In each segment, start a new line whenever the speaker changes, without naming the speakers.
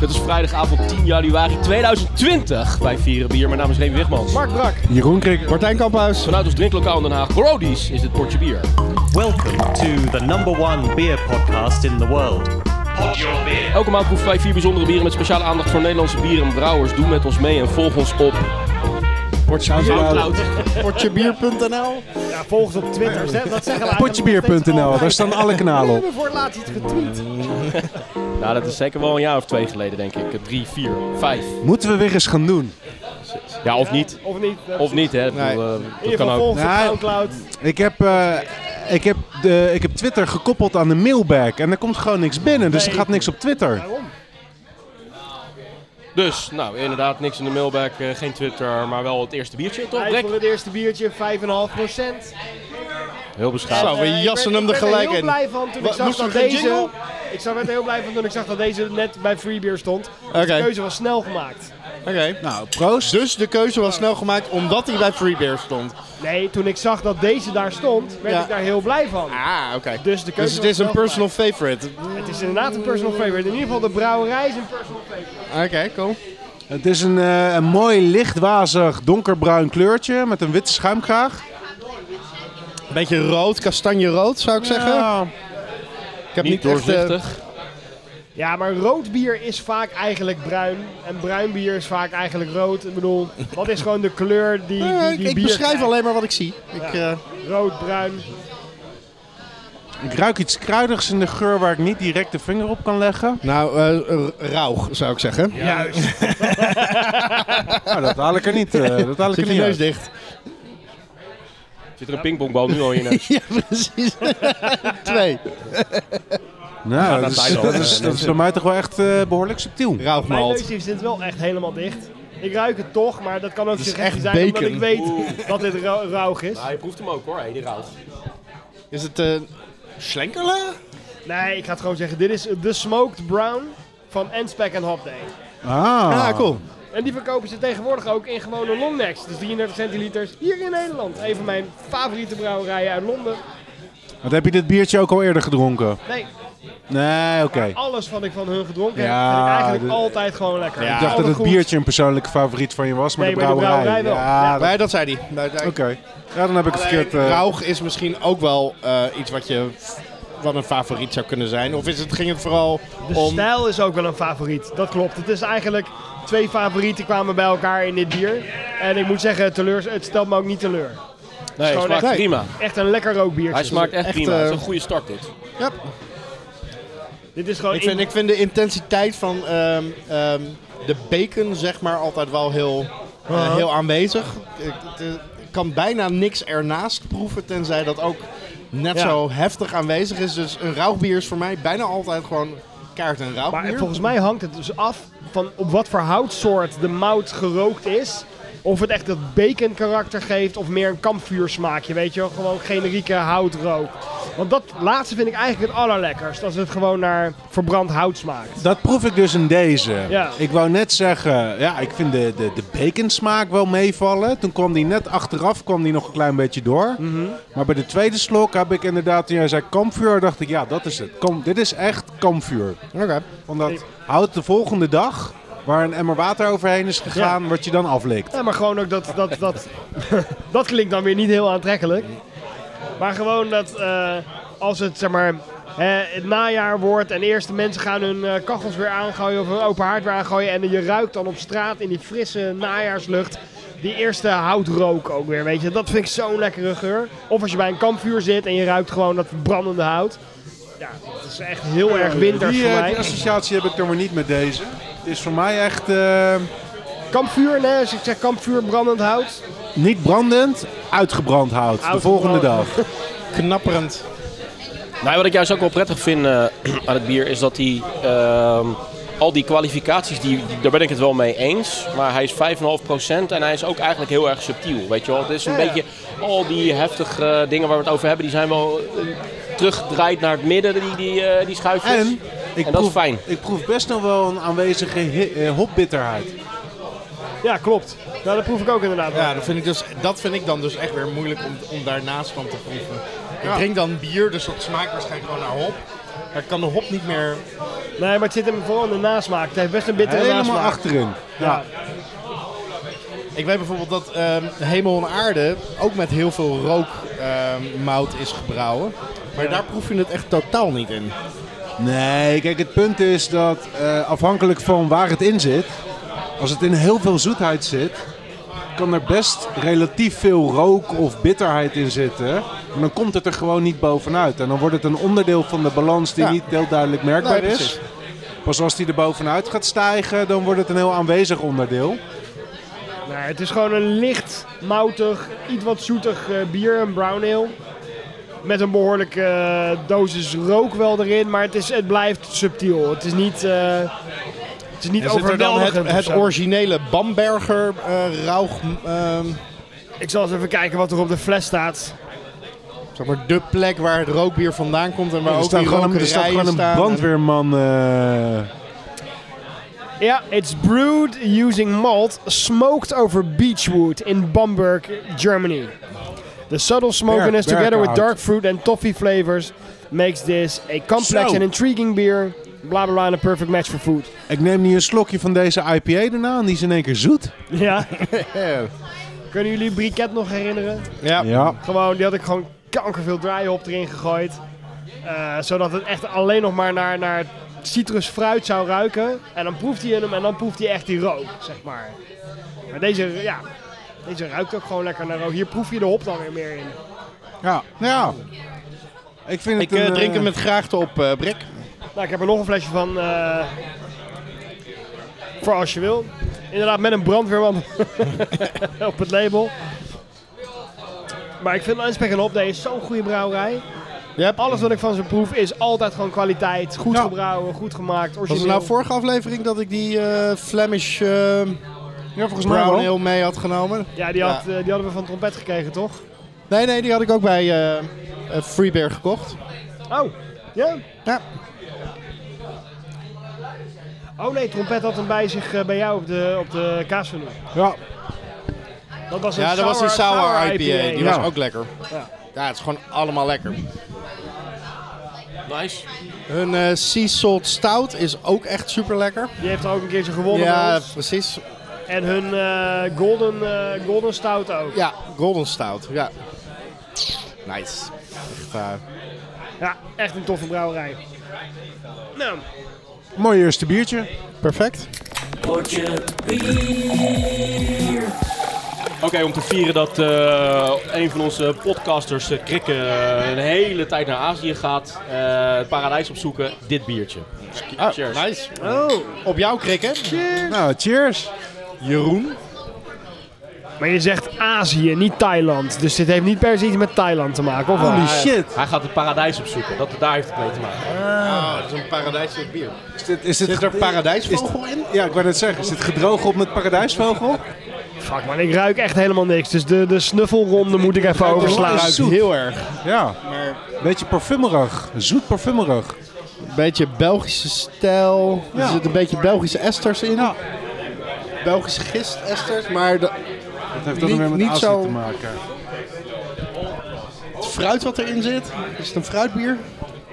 Het is vrijdagavond 10 januari 2020. Wij vieren bier. Mijn naam is Remy Wigman.
Mark Brak.
Jeroen Krik.
Martijn Kamphuis.
Vanuit ons drinklokaal in Den Haag, Brodies, is dit potje bier.
Welcome to the number one beer podcast in the world. Pod your beer.
Elke maand proeven wij vier bijzondere bieren met speciale aandacht voor Nederlandse bieren en brouwers. Doe met ons mee en volg ons op
Potjebier.nl.
Ja, volg ons op Twitter. Zeg- Dat zeggen we
Potjebier.nl, daar staan alle
We
kanalen op.
hebben voor het laatst iets getweet.
Nou, dat is zeker wel een jaar of twee geleden, denk ik. Drie, vier, vijf.
Moeten we weer eens gaan doen?
Ja, of niet.
Of niet. dat
Oh,
Of niet, hè. Ik
Nee.
bedoel, eh, dat
In ieder
kan ook.
geval volg ons op
Nee.
Soundcloud.
Ik heb, eh, ik, heb de, ik heb Twitter gekoppeld aan de mailbag en er komt gewoon niks binnen, dus er
Nee.
gaat niks op Twitter.
Waarom?
Dus, nou, inderdaad, niks in de mailbag, eh, geen Twitter, maar wel het eerste biertje, toch?
Hij
Rick?
vond het eerste biertje 5,5 procent. Eh,
Heel beschaafd.
Zo. Nou, we jassen hem er gelijk
Ik
in.
ben er heel blij van toen ik
Wat,
zag
moest
dat
er geen
deze...
jingle?
Ik zag- werd er heel blij van toen ik zag dat deze net bij Free Beer stond. Dus
Oké,
De keuze was snel gemaakt.
oké.
Nou, proost.
Dus de keuze was snel gemaakt omdat hij bij Free Beer stond.
Nee, toen ik zag dat deze daar stond, werd
Ja.
ik daar heel blij van.
Ah, oké.
Dus de keuze
Dus het
was
is een
snel
personal favorite.
Het is inderdaad een personal favorite. In ieder geval de brouwerij is een personal favorite.
Oké, cool.
Het is een, eh, een mooi lichtwazig donkerbruin kleurtje met een witte schuimkraag.
Beetje rood, kastanjerood zou ik zeggen.
Ja.
Ik heb
Niet
niet echt, eh,
doorzichtig.
Ja, maar rood bier is vaak eigenlijk bruin. En bruin bier is vaak eigenlijk rood. Ik bedoel, wat is gewoon de kleur die,
eh,
die,
ik
die
ik
bier
beschrijf
krijgt?
alleen maar wat ik zie. Ik, eh,
Rood, bruin.
Ik ruik iets kruidigs in de geur waar ik niet direct de vinger op kan leggen.
nou, eh, r- rauw zou ik zeggen.
Juist.
Nou, dat haal ik er niet, eh, dat haal ik er
Zit je
niet
neus
uit.
dicht.
Zit er een pingpongbal nu al in? eh?
ja, precies. Twee.
Nou, dat is,
Thailand,
dat
eh,
is, dat is
mensen.
bij mij toch wel echt eh, behoorlijk subtiel.
Mijn
Rauwmalt.
neusdief zit wel echt helemaal dicht. Ik ruik het toch, maar dat kan ook
is
suggestie
echt
zijn omdat
bacon.
ik weet
Oeh.
dat dit rau- rauw is.
Hij proeft hem ook hoor, hey, die rauw.
Is het eh slenkerla?
Nee, ik ga het gewoon zeggen. Dit is de Smoked Brown van Enspec en Hop Day.
Ah,
Ah, cool.
En die verkopen ze tegenwoordig ook in gewone longnecks. Dus 33 centiliters hier in Nederland. Een van mijn favoriete brouwerijen uit Londen.
Want Ah, heb je dit biertje ook al eerder gedronken?
Nee,
Nee, oké.
alles wat ik van hun gedronken
Ja,
heb, vind ik eigenlijk
de-
altijd gewoon lekker.
Ja.
Ik dacht
Alle
dat het
goed.
biertje een persoonlijke favoriet van je was, maar
Nee,
de
maar de
brouwerij.
brouwerij wel.
Ja,
Ja.
dat-
Nee, dat zei hij. Nee,
oké. Ja, dan heb ik het verkeerd. eh,
Rauw is misschien ook wel eh, iets wat je wat een favoriet zou kunnen zijn. Of is het, ging het vooral
De
om...
stijl is ook wel een favoriet, dat klopt. Het is eigenlijk twee favorieten kwamen bij elkaar in dit bier. En ik moet zeggen, teleur, het stelt me ook niet teleur.
Nee, hij
Gewoon
smaakt
echt-
prima.
Echt een lekker rookbiertje.
Hij smaakt echt,
echt,
prima. Het is
eh,
een goede start dit.
Ja,
Dit is gewoon
ik, vind,
Oh, in-
ik vind de intensiteit van ehm, ehm, de bacon zeg maar altijd wel heel, eh,
Uh-huh.
heel aanwezig. Ik, het, eh, ik kan bijna niks ernaast proeven, tenzij dat ook net
Ja.
zo heftig aanwezig is. Dus een rauw bier is voor mij bijna altijd gewoon kaart en rauw
Maar
bier.
volgens mij hangt het dus af van op wat voor houtsoort de mout gerookt is. Of het echt dat bacon karakter geeft of meer een kampvuursmaakje, weet je wel. Gewoon generieke houtrook. Want dat laatste vind ik eigenlijk het allerlekkerst. Als het gewoon naar verbrand hout smaakt.
dat proef ik dus in deze.
Ja.
Ik wou net zeggen, ja, ik vind de, de, de baconsmaak wel meevallen. Toen kwam die net achteraf, kwam die nog een klein beetje door.
Mhm.
Maar bij de tweede slok heb ik inderdaad, toen jij zei kampvuur, dacht ik, ja, dat is het. Kam, dit is echt kampvuur.
Oké.
Omdat hout de volgende dag, waar een emmer water overheen is gegaan, wat je dan aflikt.
Ja, maar gewoon ook dat. Dat, dat, dat klinkt dan weer niet heel aantrekkelijk. Maar gewoon dat eh, als het zeg maar. eh, het najaar wordt en eerst de mensen gaan hun eh, kachels weer aangooien of hun open haard weer aangooien. En je ruikt dan op straat in die frisse najaarslucht die eerste houtrook ook weer. Weet je, dat vind ik zo'n lekkere geur. Of als je bij een kampvuur zit en je ruikt gewoon dat brandende hout. Ja, dat is echt heel erg winters
die,
voor
eh,
mij.
die associatie heb ik dan weer niet met deze. Het is voor mij echt eh,
Kampvuur, nee, als ik zeg kampvuur, brandend hout.
niet brandend, uitgebrand hout. De
Uitgebrand.
volgende dag.
Knapperend.
Nou, wat ik juist ook wel prettig vind eh, aan het bier is dat hij ehm, al die kwalificaties, die, die- daar ben ik het wel mee eens. Maar hij is 5,5% en hij is ook eigenlijk heel erg subtiel. Weet je wel, het is een
Ja, ja.
beetje al die heftige eh, dingen waar we het over hebben, die zijn wel eh, teruggedraaid naar het midden, die, die, eh, die schuifjes.
En, ik
dat is
proef,
fijn.
Ik proef best nog wel een aanwezige hi- eh, hopbitterheid.
Ja, klopt. Nou, dat proef ik ook inderdaad. wel.
Ja, dat vind, ik dus, dat vind ik dan dus echt weer moeilijk om, om daarnaast van te proeven. Ik drink dan bier, dus dat smaakt waarschijnlijk gewoon naar hop. Maar ik kan de hop niet meer
Nee, maar het zit hem vooral in de nasmaak. Het heeft best een bittere
Helemaal
nasmaak.
achterin. Ja.
Ik weet bijvoorbeeld dat ehm, Hemel en Aarde ook met heel veel rookmout is gebrouwen. Maar daar proef je het echt totaal niet in.
Nee, kijk, het punt is dat eh, afhankelijk van waar het in zit, als het in heel veel zoetheid zit, kan er best relatief veel rook of bitterheid in zitten. En dan komt het er gewoon niet bovenuit. En dan wordt het een onderdeel van de balans die
Ja.
niet heel duidelijk merkbaar
Nee, precies.
is. Pas als die er bovenuit gaat stijgen, dan wordt het een heel aanwezig onderdeel.
Nee, het is gewoon een licht, moutig, iets wat zoetig eh, bier, een brown ale. Met een behoorlijke eh, dosis rook wel erin, maar het, is, het blijft subtiel. Het is niet, eh het is niet
En zit er dan het,
overweldigend. of
het
zo.
originele Bamberger eh rauch, ehm,
Ik zal eens even kijken wat er op de fles staat.
zeg maar de plek waar het rookbier vandaan komt en waar
er
ook die
staat gewoon een, er staat
rokerijen
gewoon een
staan.
brandweerman. eh,
Ja, it's brewed using malt smoked over beechwood in Bamberg, Germany. The subtle smokiness
Berk-
together with
berkenhout.
dark fruit and toffee flavors makes this a complex
Zo.
and intriguing beer. Bla bla bla, and a perfect match for food.
ik neem nu een slokje van deze IPA daarna en die is in één keer zoet.
Ja.
Ja.
Kunnen jullie Briket nog herinneren?
Ja.
Ja.
Gewoon, die had ik gewoon kankerveel dry hop erin gegooid. Eh, zodat het echt alleen nog maar naar, naar citrusfruit zou ruiken. En dan proeft hij hem en dan proeft hij echt die rook, zeg maar. Maar deze, ja, deze ruikt ook gewoon lekker naar rook. Hier proef je de hop dan weer meer in.
Ja. Nou ja. Ik, vind
Ik
het
eh,
een,
drink
eh,
hem met graagte op eh Brik.
Nou, ik heb er nog een flesje van. eh, voor als je wil. Inderdaad, met een brandweerman op het label. Maar ik vind Lanspec en Hop, dat is zo'n goede brouwerij.
Yep.
Alles wat ik van ze proef is altijd gewoon kwaliteit. Goed
Ja.
gebrouwen, goed gemaakt,
Was
origineel.
het nou vorige aflevering dat ik die eh, Flemish eh
Ja, volgens mij
brown
wel.
ale mee had genomen?
Ja, die,
Ja.
Had, eh, die hadden we van trompet gekregen, toch?
Nee, nee, die had ik ook bij eh, eh, Freebeer gekocht.
Oh, ja?
Ja.
Oh nee, trompet had hem bij zich eh, bij jou op de, op de kaasvloer.
Ja,
Dat was een
Ja, dat was een sour, IPA. Die
Ja.
was ook lekker. Ja. het is gewoon allemaal lekker.
Nice.
Hun eh, Sea Salt Stout is ook echt super lekker.
Die heeft er ook een keertje gewonnen.
Ja,
van ons.
precies.
En hun eh, golden, eh, golden stout ook.
Ja, Golden Stout. Ja. Nice. Echt, eh,
Ja, echt een toffe brouwerij. Nou,
mooi eerste biertje.
perfect.
Oké, om te vieren dat eh, een van onze podcasters, eh, Krikke, een hele tijd naar Azië gaat. eh, het paradijs opzoeken. Dit biertje.
Ah,
Cheers.
Nice. Op jou, Krik, hè?
Nou, cheers.
Jeroen.
maar je zegt Azië, niet Thailand. Dus dit heeft niet per se iets met Thailand te maken, of wel?
Holy
Hij-
shit.
Hij gaat het paradijs opzoeken. Dat, daar heeft het mee te maken.
Ah, dat is een paradijselijk bier.
Is dit, is dit
Zit er
ge-
paradijsvogel
is- Ja, ik wou net zeggen. Is dit gedroogd op met paradijsvogel?
Fuck man, ik ruik echt helemaal niks. Dus de, de snuffelronde moet ik even
ruik
overslaan.
wel eens.
Ruikt
zoet.
heel erg.
Ja.
Maar
Beetje parfumerig. Zoet parfumerig.
een beetje Belgische stijl.
Ja.
Er zitten een beetje Belgische esters in.
Ja.
Belgische gist-esters. Maar de-
Dat heeft dan
Niet-
weer met
niet
Azië
zo-
te maken.
het fruit wat erin zit. Is het een fruitbier?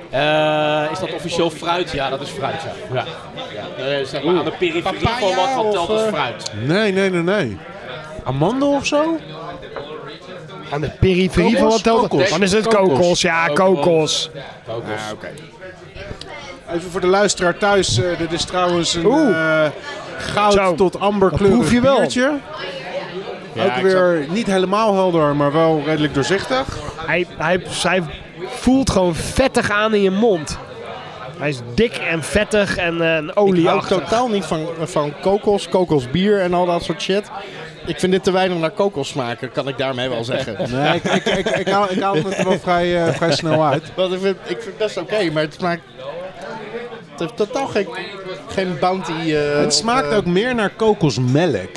Eh, is dat officieel fruit? Ja, dat is fruit. Ja. ja. ja. Eh, zeg maar aan de periferie van wat, wat telt als
of, eh,
fruit.
Nee, nee, nee, nee. Amandel of zo?
Aan de periferie van wat telt
Kokos.
Dan is het
Kokos.
kokos, ja,
Kokos.
kokos.
Kokos.
Even voor de luisteraar thuis. eh, dit is trouwens een
Oeh.
eh, goud
Zo.
tot amberkleurig
Dat proef je wel.
biertje. Ook weer niet helemaal helder, maar wel redelijk doorzichtig.
Hij, hij, hij voelt gewoon vettig aan in je mond. Hij is dik en vettig en, eh, en
Ik hou
olieachtig.
totaal niet van, van kokos, kokosbier en al dat soort shit. Ik vind dit te weinig naar kokos smaken, kan ik daarmee wel zeggen.
Nee, ik, ik, ik, ik, haal, ik haal het er wel vrij, eh, vrij snel uit.
Want ik vind, ik vind het best oké, maar het smaakt... Het heeft totaal geen, geen bounty... eh,
Het smaakt
of, eh,
ook meer naar kokosmelk.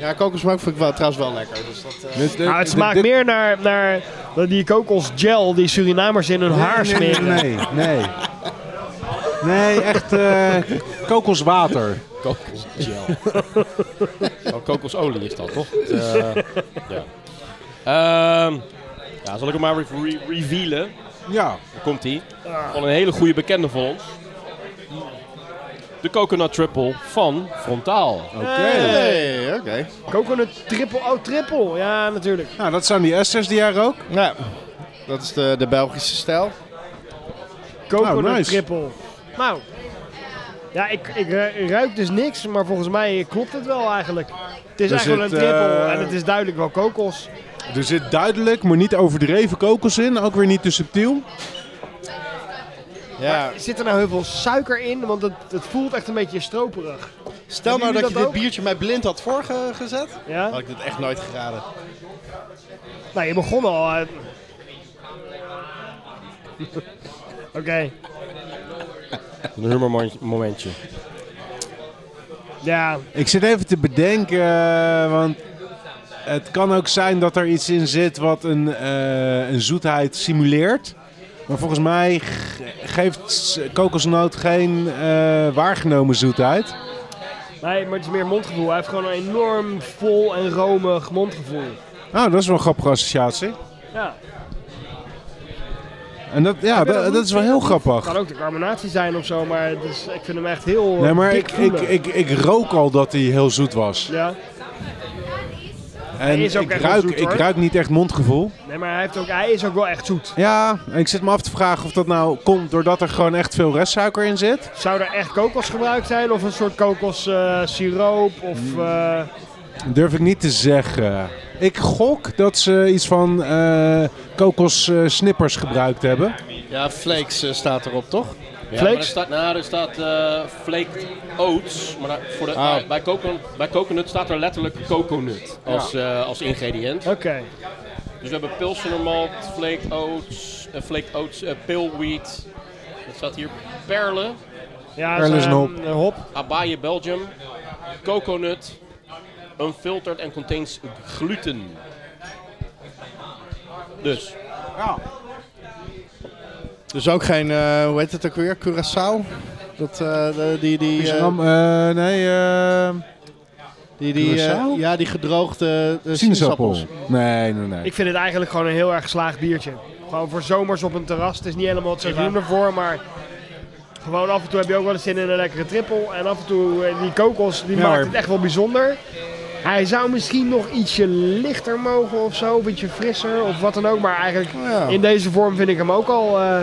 Ja, kokosmelk vind ik wel, trouwens wel lekker. Dus dat, eh,
Dus dit-
Nou, het
dit-
smaakt
dit-
meer naar, naar die kokosgel die Surinamers in hun haar
Nee, nee,
smeren.
Nee, nee, nee. Nee, echt eh, kokoswater.
Kokosgel. oh, kokosolie is dat, toch? Eh, ja. Ehm, ja, zal ik hem maar re- re- revealen?
Ja.
Daar komt hij. Van een hele goede bekende van ons. de coconut triple van Frontaal.
Oké.
Hey, oké.
Coconut triple. Oh, triple. Ja, natuurlijk.
Nou, dat zijn die S'ers die jaar ook.
Nou, dat is de, de Belgische stijl.
Coconut
Nou, nice.
triple. Nou. Ja, ik, ik ru- ruik dus niks, maar volgens mij klopt het wel eigenlijk. Het is
Er
eigenlijk wel
zit,
een triple
eh,
en het is duidelijk wel kokos.
Er zit duidelijk, maar niet overdreven kokos in. Ook weer niet te subtiel.
Ja.
Zit er nou heel veel suiker in? Want het, het voelt echt een beetje stroperig.
Stel nou
jullie
dat, je
dat
dit
ook?
biertje mij blind had voorgezet.
Ja?
Had ik dit echt nooit geraden.
Nou, je begon al. eh. Oké.
Een humormomentje.
Ja,
Ik zit even te bedenken, eh, want het kan ook zijn dat er iets in zit wat een, eh, een zoetheid simuleert. Maar volgens mij ge- geeft s- kokosnoot geen eh, waargenomen zoetheid.
nee, maar het is meer mondgevoel. Hij heeft gewoon een enorm vol en romig mondgevoel.
Nou, dat is wel een grappige associatie.
Ja,
En dat, ja,
je dat
dat, dat is wel heel grappig.
kan ook de carbonatie zijn of zo, maar het is, ik vind hem echt heel. eh,
Nee, maar
dik
ik, ik,
voelen.
ik, ik rook al dat hij heel zoet was.
Ja,
En
is ook
ik,
echt
ruik,
wel zoet,
ik
hoor.
ruik niet echt mondgevoel.
nee, maar hij, heeft ook, hij is ook wel echt zoet.
Ja, en ik zit me af te vragen of dat nou komt doordat er gewoon echt veel restsuiker in zit.
Zou er echt kokos gebruikt zijn of een soort kokos eh, siroop of.
Mm.
eh,
Durf ik niet te zeggen. Ik gok dat ze iets van eh kokos eh, snippers gebruikt hebben.
Ja, Flakes eh, staat erop, toch?
Ja,
Flakes?
maar er staat, nou, er staat eh, flaked oats. Maar daar- voor de,
Ah.
bij, bij coconut, bij coconut staat er letterlijk coconut als, eh, als ingrediënt.
Oké.
Dus we hebben Pilsener malt, flaked oats, eh, flaked oats eh, pillweed. Dat staat hier perlen,
Ja,
Perlis
zo'n,
en hop.
eh, hop.
abaye Belgium, coconut, unfiltered en contains gluten. Dus,
Dus ook geen, eh, hoe heet het ook weer? Curaçao? Dat, eh, de- die, die, eh,
Ram, eh, nee, eh
die, die, eh,
Curaçao?
ja, die gedroogde eh,
sinaasappel.
sinaasappels.
Nee, nee, nee.
Ik vind het eigenlijk gewoon een heel erg geslaagd biertje. Gewoon voor zomers op een terras. Het is niet helemaal het seizoen ervoor, maar... Gewoon af en toe heb je ook wel eens zin in een lekkere trippel. En af en toe, eh, die kokos, die
Ja,
maakt
hoor.
het echt wel bijzonder. Hij zou misschien nog ietsje lichter mogen of zo. Een beetje frisser of wat dan ook. Maar eigenlijk
Oh
ja.
in deze vorm vind ik hem ook al, eh,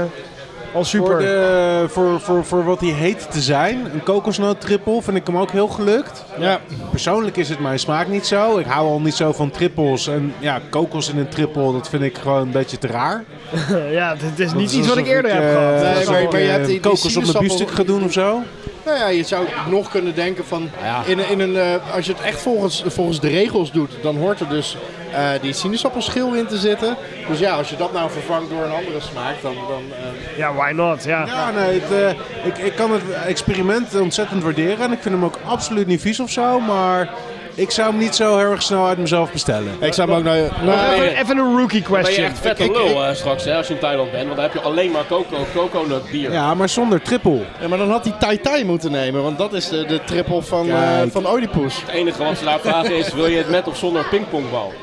al
Voor,
super.
de, voor, voor, voor wat hij heet te zijn, een kokosnoot triple, vind ik hem ook heel gelukt.
Ja.
Persoonlijk is het mijn smaak niet zo. Ik hou al niet zo van trippels. En ja, kokos in een triple, dat vind ik gewoon een beetje te raar.
Eh, ja, het- het is
Dat
niet
is
iets wat ik
alsof
eerder
eh,
heb gehad.
Nee,
Dat is
alsof
maar-
wel-
ik,
maar je
eh,
hebt die- die
kokos op mijn
sinaasappel-
biefstuk gaan doen of zo.
Nou ja, je zou nog kunnen denken van, in, een- in een, eh, als je het echt volgens, volgens de regels doet, dan hoort er dus eh, die sinaasappelschil in te zitten. Dus ja, als je dat nou vervangt door een andere smaak, dan... dan eh,
Ja, why not? Ja.
Ja, nee, het, eh, ik, ik kan het experiment ontzettend waarderen. En ik vind hem ook absoluut niet vies of zo. Maar ik zou hem niet zo heel erg snel uit mezelf bestellen.
ik zou hem ook naar...
Even, even een rookie
ben je
question.
echt vette
Ik- ik-
lul eh, straks hè, als je in Thailand bent. Want dan heb je alleen maar coco, coconut bier.
Ja, maar zonder triple.
Ja, maar dan had hij Tai Tai moeten nemen, want dat is de, de triple van, eh
Kijk.
van Oedipus.
Het enige wat ze daar vragen is, wil je het met of zonder pingpongbal?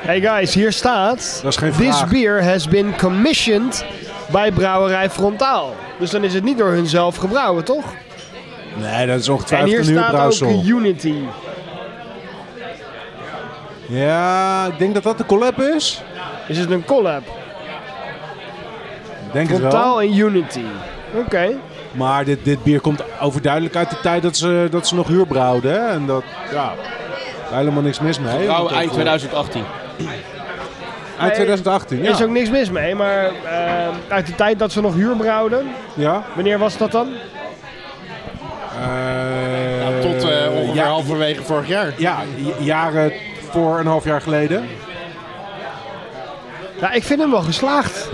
Hey guys, hier staat...
Dat is geen
This
vraag.
beer has been commissioned bij brouwerij Frontaal. Dus dan is het niet door hun zelf gebrouwen, toch?
Nee, dat is
en hier
ongetwijfeld een
staat
huurbrouwsel.
ook Unity.
Ja, ik denk dat dat de collab is.
Is het een collab?
Ik Denk het wel.
Frontaal en Unity. Oké.
Maar dit, dit bier komt overduidelijk uit de tijd dat ze, dat ze nog huur brouwden. hè. En dat, ja, daar helemaal niks mis mee.
Nou,
Want dat,
eind
eh,
2018.
Eind 2018,
Er is
ja.
ook niks mis mee, maar eh, uit de tijd dat ze nog huur brouwden,
ja.
wanneer was dat dan?
Eh,
Nou, tot eh, ongeveer
ja,
halverwege vorig jaar.
Ja, j- jaren voor een half jaar geleden.
Ja, Nou, ik vind hem wel geslaagd.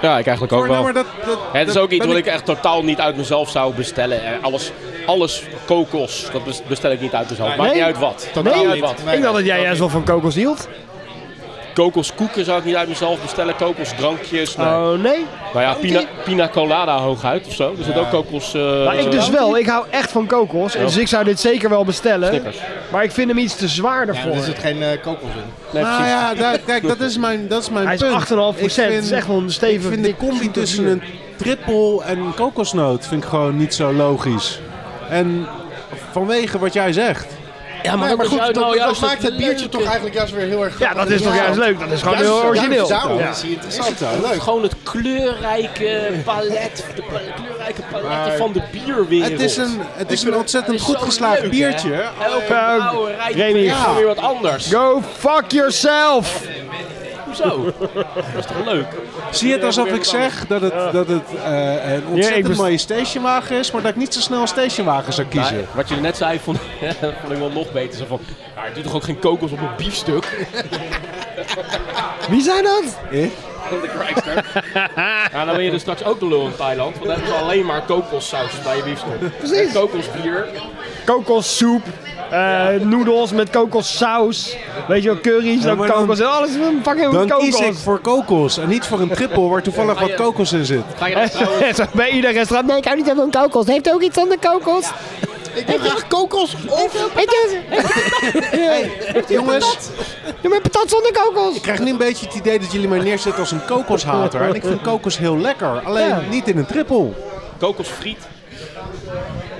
Ja, ik eigenlijk ook
Maar, nou,
wel.
maar dat, dat,
Het is
dat
ook iets
ben
wat ik echt totaal niet uit mezelf zou bestellen. Eh, Alles, alles kokos, dat bes- bestel ik niet uit mezelf. Maakt
Nee.
niet uit wat.
Totaal
Maakt niet
niet.
uit wat.
ik dacht dat jij juist wel van kokos hield.
Kokoskoeken zou ik niet uit mezelf bestellen. Kokosdrankjes. Nee.
Oh nee.
nou ja, pina, pina colada hooguit of zo. Er zit ook kokos... eh,
Maar ik dus wel, ik hou echt van kokos. Dus ik zou dit zeker wel bestellen.
Snickers.
Maar ik vind hem iets te zwaar
Ja,
ervoor.
er zit geen eh kokos in.
Nee,
Nou
precies.
ja, daar- kijk, dat is mijn, dat is mijn
Hij is
punt.
8,5
Ik
procent.
vind-
Het is echt wel een
Ik
stevig
vind de
dik,
combi
zoet
tussen
bier.
een triple en een kokosnoot vind ik gewoon niet zo logisch. En vanwege wat jij zegt.
Ja,
Nee, maar goed, dat,
nou
dat
juist
maakt het biertje
leuke.
toch eigenlijk juist weer heel erg
Ja, dat is toch juist leuk. Dat is gewoon
Juist-
heel
juist
origineel.
daarom
Ja.
is hij interessant. Leuk.
Gewoon het kleurrijke palet, de pa- kleurrijke paletten
Maar-
van de bierwereld.
Het is een, het is een
Het
ontzettend
is
goed
zo
geslaagd
leuk,
biertje.
hè? Elke
Ehm,
blauwe rij
Remy,
is
ja.
weer wat anders.
Go fuck yourself!
Hoezo? dat is toch leuk?
Zie het alsof ik zeg dat het, dat het eh, een ontzettend
best-
mooie stationwagen is, maar dat ik niet zo snel een stationwagen zou kiezen.
Nou, wat je net zei, vond, vond ik wel nog beter. Zo van, ja, het doet toch ook geen kokos op een biefstuk?
Wie zijn dat?
de Chrysler. ja, dan ben je dus straks ook de lul in Thailand. Want dan hebben ze alleen maar kokossaus bij je biefstuk. Precies. Kokosbier.
Kokossoep. eh, Noedels met kokossaus. Weet je wel, curry's,
Ja,
dan
maar dan-
kokos. Oh, en Alles fucking
Dan
met
kies ik
kokos.
voor kokos en niet voor een trippel waar toevallig wat kokos in zit.
Ga je dan trouwens...
Bij ieder restaurant. Nee, ik hou niet van kokos. Heeft ook iets aan de kokos?
Ik wil graag kokos of...
Weet je,
Jongens,
doe maar patat zonder kokos.
ik krijg nu een beetje het idee dat jullie mij neerzetten als een kokoshater. En ik vind kokos heel lekker, alleen
Ja.
niet in een trippel.
Kokosfriet.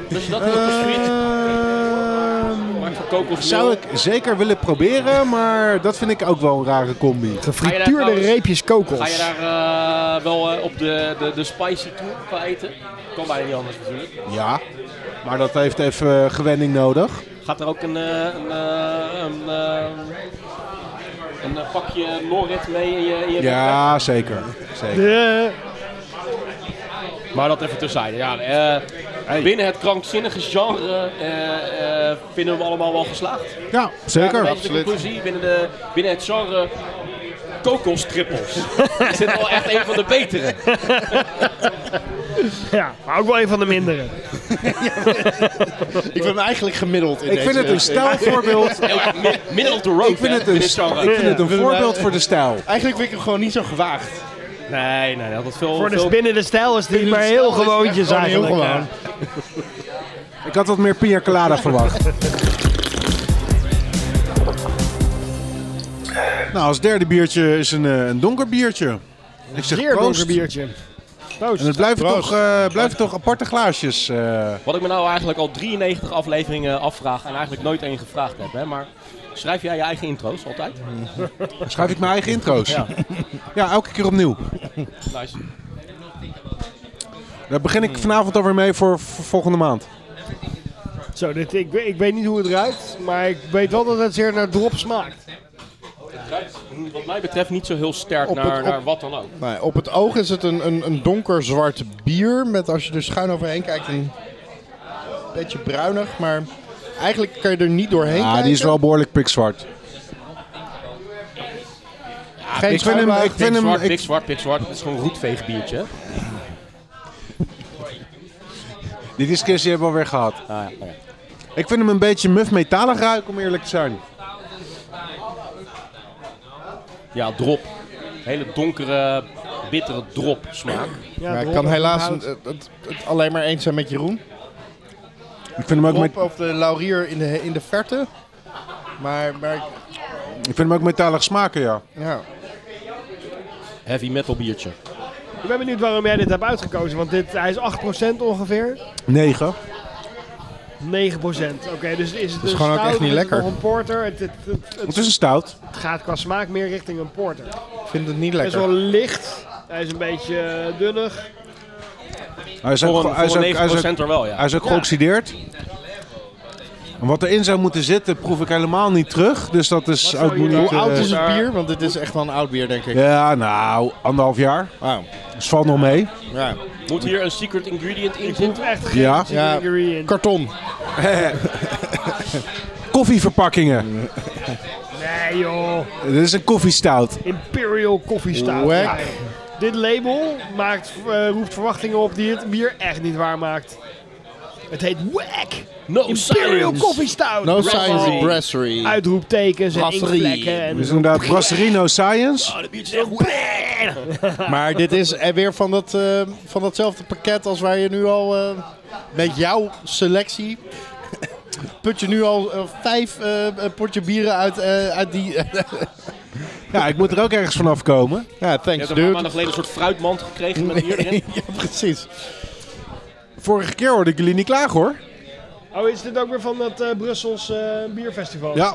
Dus dat
Eh.
is kokosfriet.
Ehm,
Maakt van kokos
zou ik zeker willen proberen, maar dat vind ik ook wel een rare combi.
Ga je daar
Gefrituurde
trouwens-
reepjes kokos.
Ga je daar eh, wel eh, op de, de, de spicy tour qua eten? Kan bijna niet anders natuurlijk.
Ja, maar dat heeft even eh, gewenning nodig.
Gaat er ook een, eh, een, eh, een, eh, een eh, pakje Norrit mee in je, in je backpack?
Ja, zeker. zeker.
Eh,
Maar dat even terzijde. Ja, eh, Binnen het krankzinnige genre eh, eh, vinden we hem allemaal wel geslaagd.
Ja, zeker.
Dat is de conclusie binnen, de, binnen het genre kokostrippels. is dit wel echt een van de betere?
ja, maar ook wel een van de mindere.
Ik vind hem eigenlijk gemiddeld in
Ik vind het een stijlvoorbeeld.
Heel- mi- Middle of the road
Ik vind
hè,
het
binnen
een,
het genre.
ik vind het een voorbeeld voor de stijl.
Eigenlijk vind ik hem gewoon niet zo gewaagd.
Nee, nee, dat had veel...
Voor de
veel-
binnen de stijl is die maar
de
heel
stijl is
gewoontjes
echt gewoon
eigenlijk.
heel
ja.
Ik had wat meer pina colada verwacht. Nou, als derde biertje is een, eh, een donker biertje. Ik zeg
Zeer donker
proost.
biertje.
En het blijven, toch, eh, blijven toch aparte glaasjes. eh.
Wat ik me nou eigenlijk al 93 afleveringen afvraag en eigenlijk nooit één gevraagd heb, hè, maar... Schrijf jij je eigen intro's altijd?
Mhm.
schrijf ik mijn eigen intro's.
Ja.
Ja. elke keer opnieuw.
Nice.
Daar begin ik vanavond alweer mee voor, voor volgende maand.
Zo, dit, ik, weet- ik weet niet hoe het ruikt, maar ik weet wel dat het zeer naar drop smaakt.
hm, Wat mij betreft niet zo heel sterk
Op het-
naar,
op-
naar wat dan ook.
Nee, op het oog is het een, een, een donkerzwart bier met als je er schuin overheen kijkt een beetje bruinig, maar eigenlijk kan je er niet doorheen
Ja,
kijken.
Ah, die is wel behoorlijk pikzwart.
Geen
ik vind hem-
schuimlaag.
ik vind
Pik
hem-
zwart,
ik-
pik zwart, pik zwart. Het is gewoon een roetveegbiertje. hè?
Die discussie hebben we alweer gehad.
Ah, ja.
Ik vind hem een beetje muf metalig ruiken, om eerlijk te zijn.
Ja, drop. Hele donkere, bittere drop smaak.
Ja, ik kan helaas het, het- het alleen maar eens zijn met Jeroen.
Ik vind hem ook,
Rob
met,
of de laurier in de, in de verte. Maar, maar
ik vind hem ook metalig smaken, ja.
ja.
Heavy metal biertje.
Ik ben benieuwd waarom jij dit hebt uitgekozen, want dit, hij is 8% ongeveer.
9.
9%. Oké, dus is het
is
een
gewoon ook
stout,
echt niet
is het
lekker.
nog een porter. Het, het, het- het
Het is een stout.
gaat qua smaak meer richting een porter.
Ik vind het niet
Hij is
lekker.
wel licht, hij is een beetje eh, dunnig.
Hij is
Voor
ook,
een,
hij is
voor
ook-
een
hij is
9%
ook,
er wel, ja.
hij is ook geoxideerd. En wat erin zou moeten zitten, proef ik helemaal niet terug. Dus dat is
Wat zou
ook
je-
moeilijk.
Hoe
eh,
oud is het
eh,
bier? Want dit is echt wel een oud bier, denk ik.
Ja, nou, anderhalf jaar.
Wauw.
Dus valt nog mee.
Ja.
Moet hier een secret ingredient in
Ik proef
zitten?
echt geen
Ja.
ja. in.
Karton.
Koffieverpakkingen.
Nee joh,
Dit is een koffiestout.
Imperial Coffee Stout.
Wack.
Ja. Dit label maakt, eh, roept verwachtingen op die het bier echt niet waar maakt. Het heet Wack!
No
Imperial
science.
Coffee Stout.
No
Bravo.
Science Brasserie.
Uitroeptekens en
Brasserie.
inkvlekken. En
Dit is inderdaad Brasserino Science.
Oh, dat biertje is echt wack.
Maar dit is er weer van, dat, eh, van datzelfde pakket als waar je nu al eh, met jouw selectie. Put je nu al eh, vijf eh, eh, potje bieren uit, eh, uit die.
Ja, ik moet er ook ergens vanaf komen.
ja,
Je
thanks,
hebt een paar
dude.
maanden geleden een soort fruitmand gekregen met bier erin.
ja, precies.
Vorige keer hoorde ik jullie niet klagen hoor.
Oh, is dit ook weer van dat eh, Brussels eh, bierfestival?
Ja,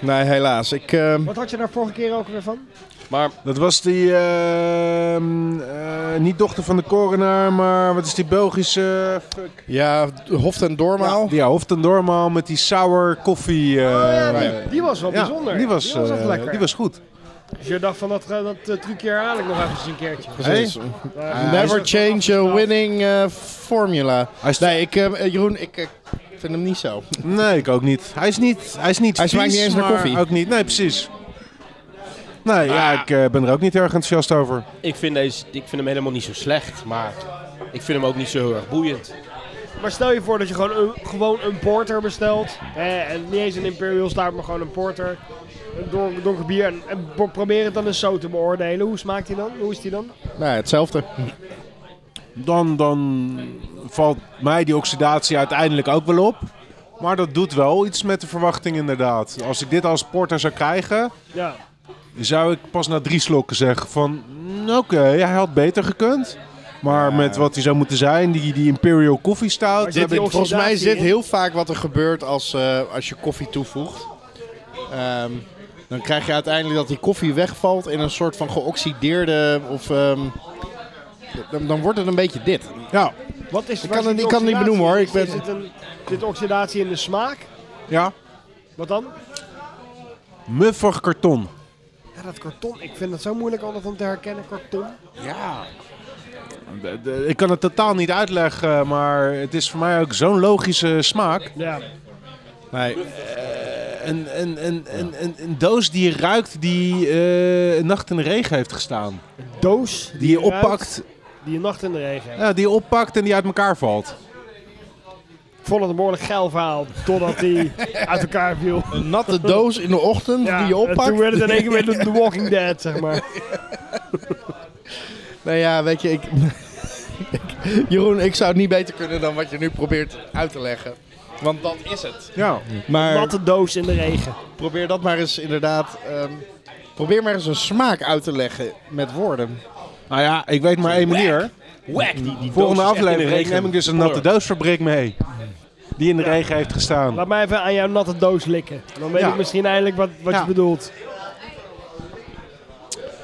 Nee, helaas. Ik, ehm,
Wat had je daar vorige keer ook weer van?
Eh,
Maar
dat was die, ehm, eh, niet dochter van de coroner, maar wat is die Belgische... fuck.
ja, Hoft en Dormaal.
Ja, Hoofd en Dormaal met die sour koffie. eh,
Oh ja,
eh,
die, die was wel
ja,
bijzonder.
Die was,
echt
eh,
lekker.
Die was goed.
Dus je dacht van dat, eh, dat eh, trucje herhaal ik nog even een keertje. Eh,
Precies.
Maar-
Never change a winning eh, formula.
Hij is-
Nee, ik, eh, Jeroen, ik eh, vind hem niet zo.
Nee, ik ook niet. Hij is niet Hij, is niet
Hij smaakt
vies,
niet eens naar
maar
koffie.
Ook niet. Nee, precies. Nee,
Ah.
ja, ik eh, ben er ook niet heel erg enthousiast over.
ik vind, deze, ik vind hem helemaal niet zo slecht. Maar ik vind hem ook niet zo heel erg boeiend.
Maar stel je voor dat je gewoon een, gewoon een porter bestelt. Hè, en niet eens een Imperial Stout, maar gewoon een porter. Een don- donker bier. En, en pro- probeer het dan eens zo te beoordelen. Hoe smaakt die dan? Hoe is die dan?
Nee, hetzelfde.
Dan, dan valt mij die oxidatie uiteindelijk ook wel op. Maar dat doet wel iets met de verwachting inderdaad. Als ik dit als porter zou krijgen,
Ja.
zou ik pas na drie slokken zeggen van... "Mm, Oké, hij had beter gekund. Maar met wat hij zou moeten zijn, die, die Imperial Coffee Stout...
zit
heb
die
ik-
oxi-
Volgens mij
Oxidatie
zit
in.
heel vaak wat er gebeurt als, eh, als je koffie toevoegt. Ehm, dan krijg je uiteindelijk dat die koffie wegvalt in een soort van geoxideerde of... ehm, dan, dan wordt het een beetje dit.
Ja,
Wat is,
Ik
waar
kan
zit
het-
die
ik kan het niet benoemen, hoor.
oxidatie in?
Ik ben-
Is dit een, zit oxidatie in de smaak?
ja.
Wat dan?
Muffig karton.
Ja, dat karton. Ik vind dat zo moeilijk altijd om te herkennen, karton.
Ja. ik kan het totaal niet uitleggen, maar het is voor mij ook zo'n logische smaak. Eh,
Ja.
Nee,
Een, een, een, een, een, een doos die je ruikt die eh, een nacht in de regen heeft gestaan.
Doos
Die je
ruikt,
oppakt,
die je nacht in de regen hebt.
ja, die je oppakt en die uit elkaar valt.
Ik vond het een behoorlijk geil verhaal. Totdat die uit elkaar viel.
een natte doos in de ochtend die je
en Toen
oppakt.
werd het in één keer weer The Walking Dead, zeg maar.
Nou ja, weet je, ik... ik- Jeroen, ik zou het niet beter kunnen dan wat je nu probeert uit te leggen. Want dat is het.
Ja.
Maar
Natte doos in de regen.
probeer dat maar eens inderdaad... ehm, probeer maar eens een smaak uit te leggen met woorden.
Nou ja, ik weet maar één manier.
Wack, die, die doos
Volgende
is echt in de
aflevering
regen.
neem ik dus een natte doosfabriek mee. Die in de regen heeft gestaan.
Laat mij even aan jouw natte doos likken. Dan weet
Ja.
ik misschien eindelijk wat, wat
Ja.
je bedoelt.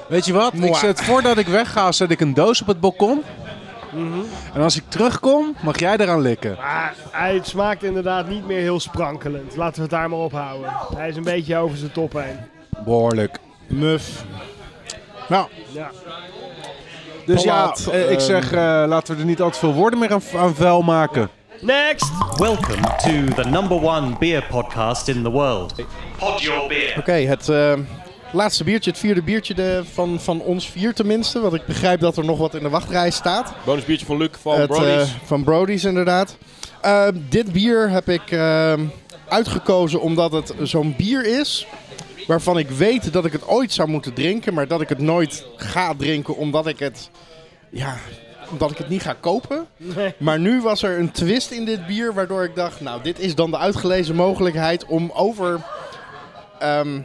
Weet je wat? Ik
Mwah.
zet, voordat ik wegga, zet ik een doos op het balkon.
Mhm.
En als ik terugkom, mag jij eraan likken.
Maar hij smaakt inderdaad niet meer heel sprankelend. Laten we het daar maar op houden. Hij is een beetje over zijn top heen.
Behoorlijk.
Muf.
Nou,
Ja.
dus
Plat,
ja, eh, ik
ehm.
zeg, eh, laten we er niet al te veel woorden meer aan, aan vuil maken.
Next!
Welcome to the number one beer podcast in the world. Pod your beer.
Oké, het eh, laatste biertje, het vierde biertje de, van, van ons vier tenminste. Want ik begrijp dat er nog wat in de wachtrij staat.
Bonus biertje van Luc van
het,
Brody's.
eh, van Brody's inderdaad. Eh, dit bier heb ik eh, uitgekozen omdat het zo'n bier is. Waarvan ik weet dat ik het ooit zou moeten drinken. Maar dat ik het nooit ga drinken omdat ik het, ja, omdat ik het niet ga kopen.
Nee.
Maar nu was er een twist in dit bier, waardoor ik dacht, nou, dit is dan de uitgelezen mogelijkheid om over, ehm,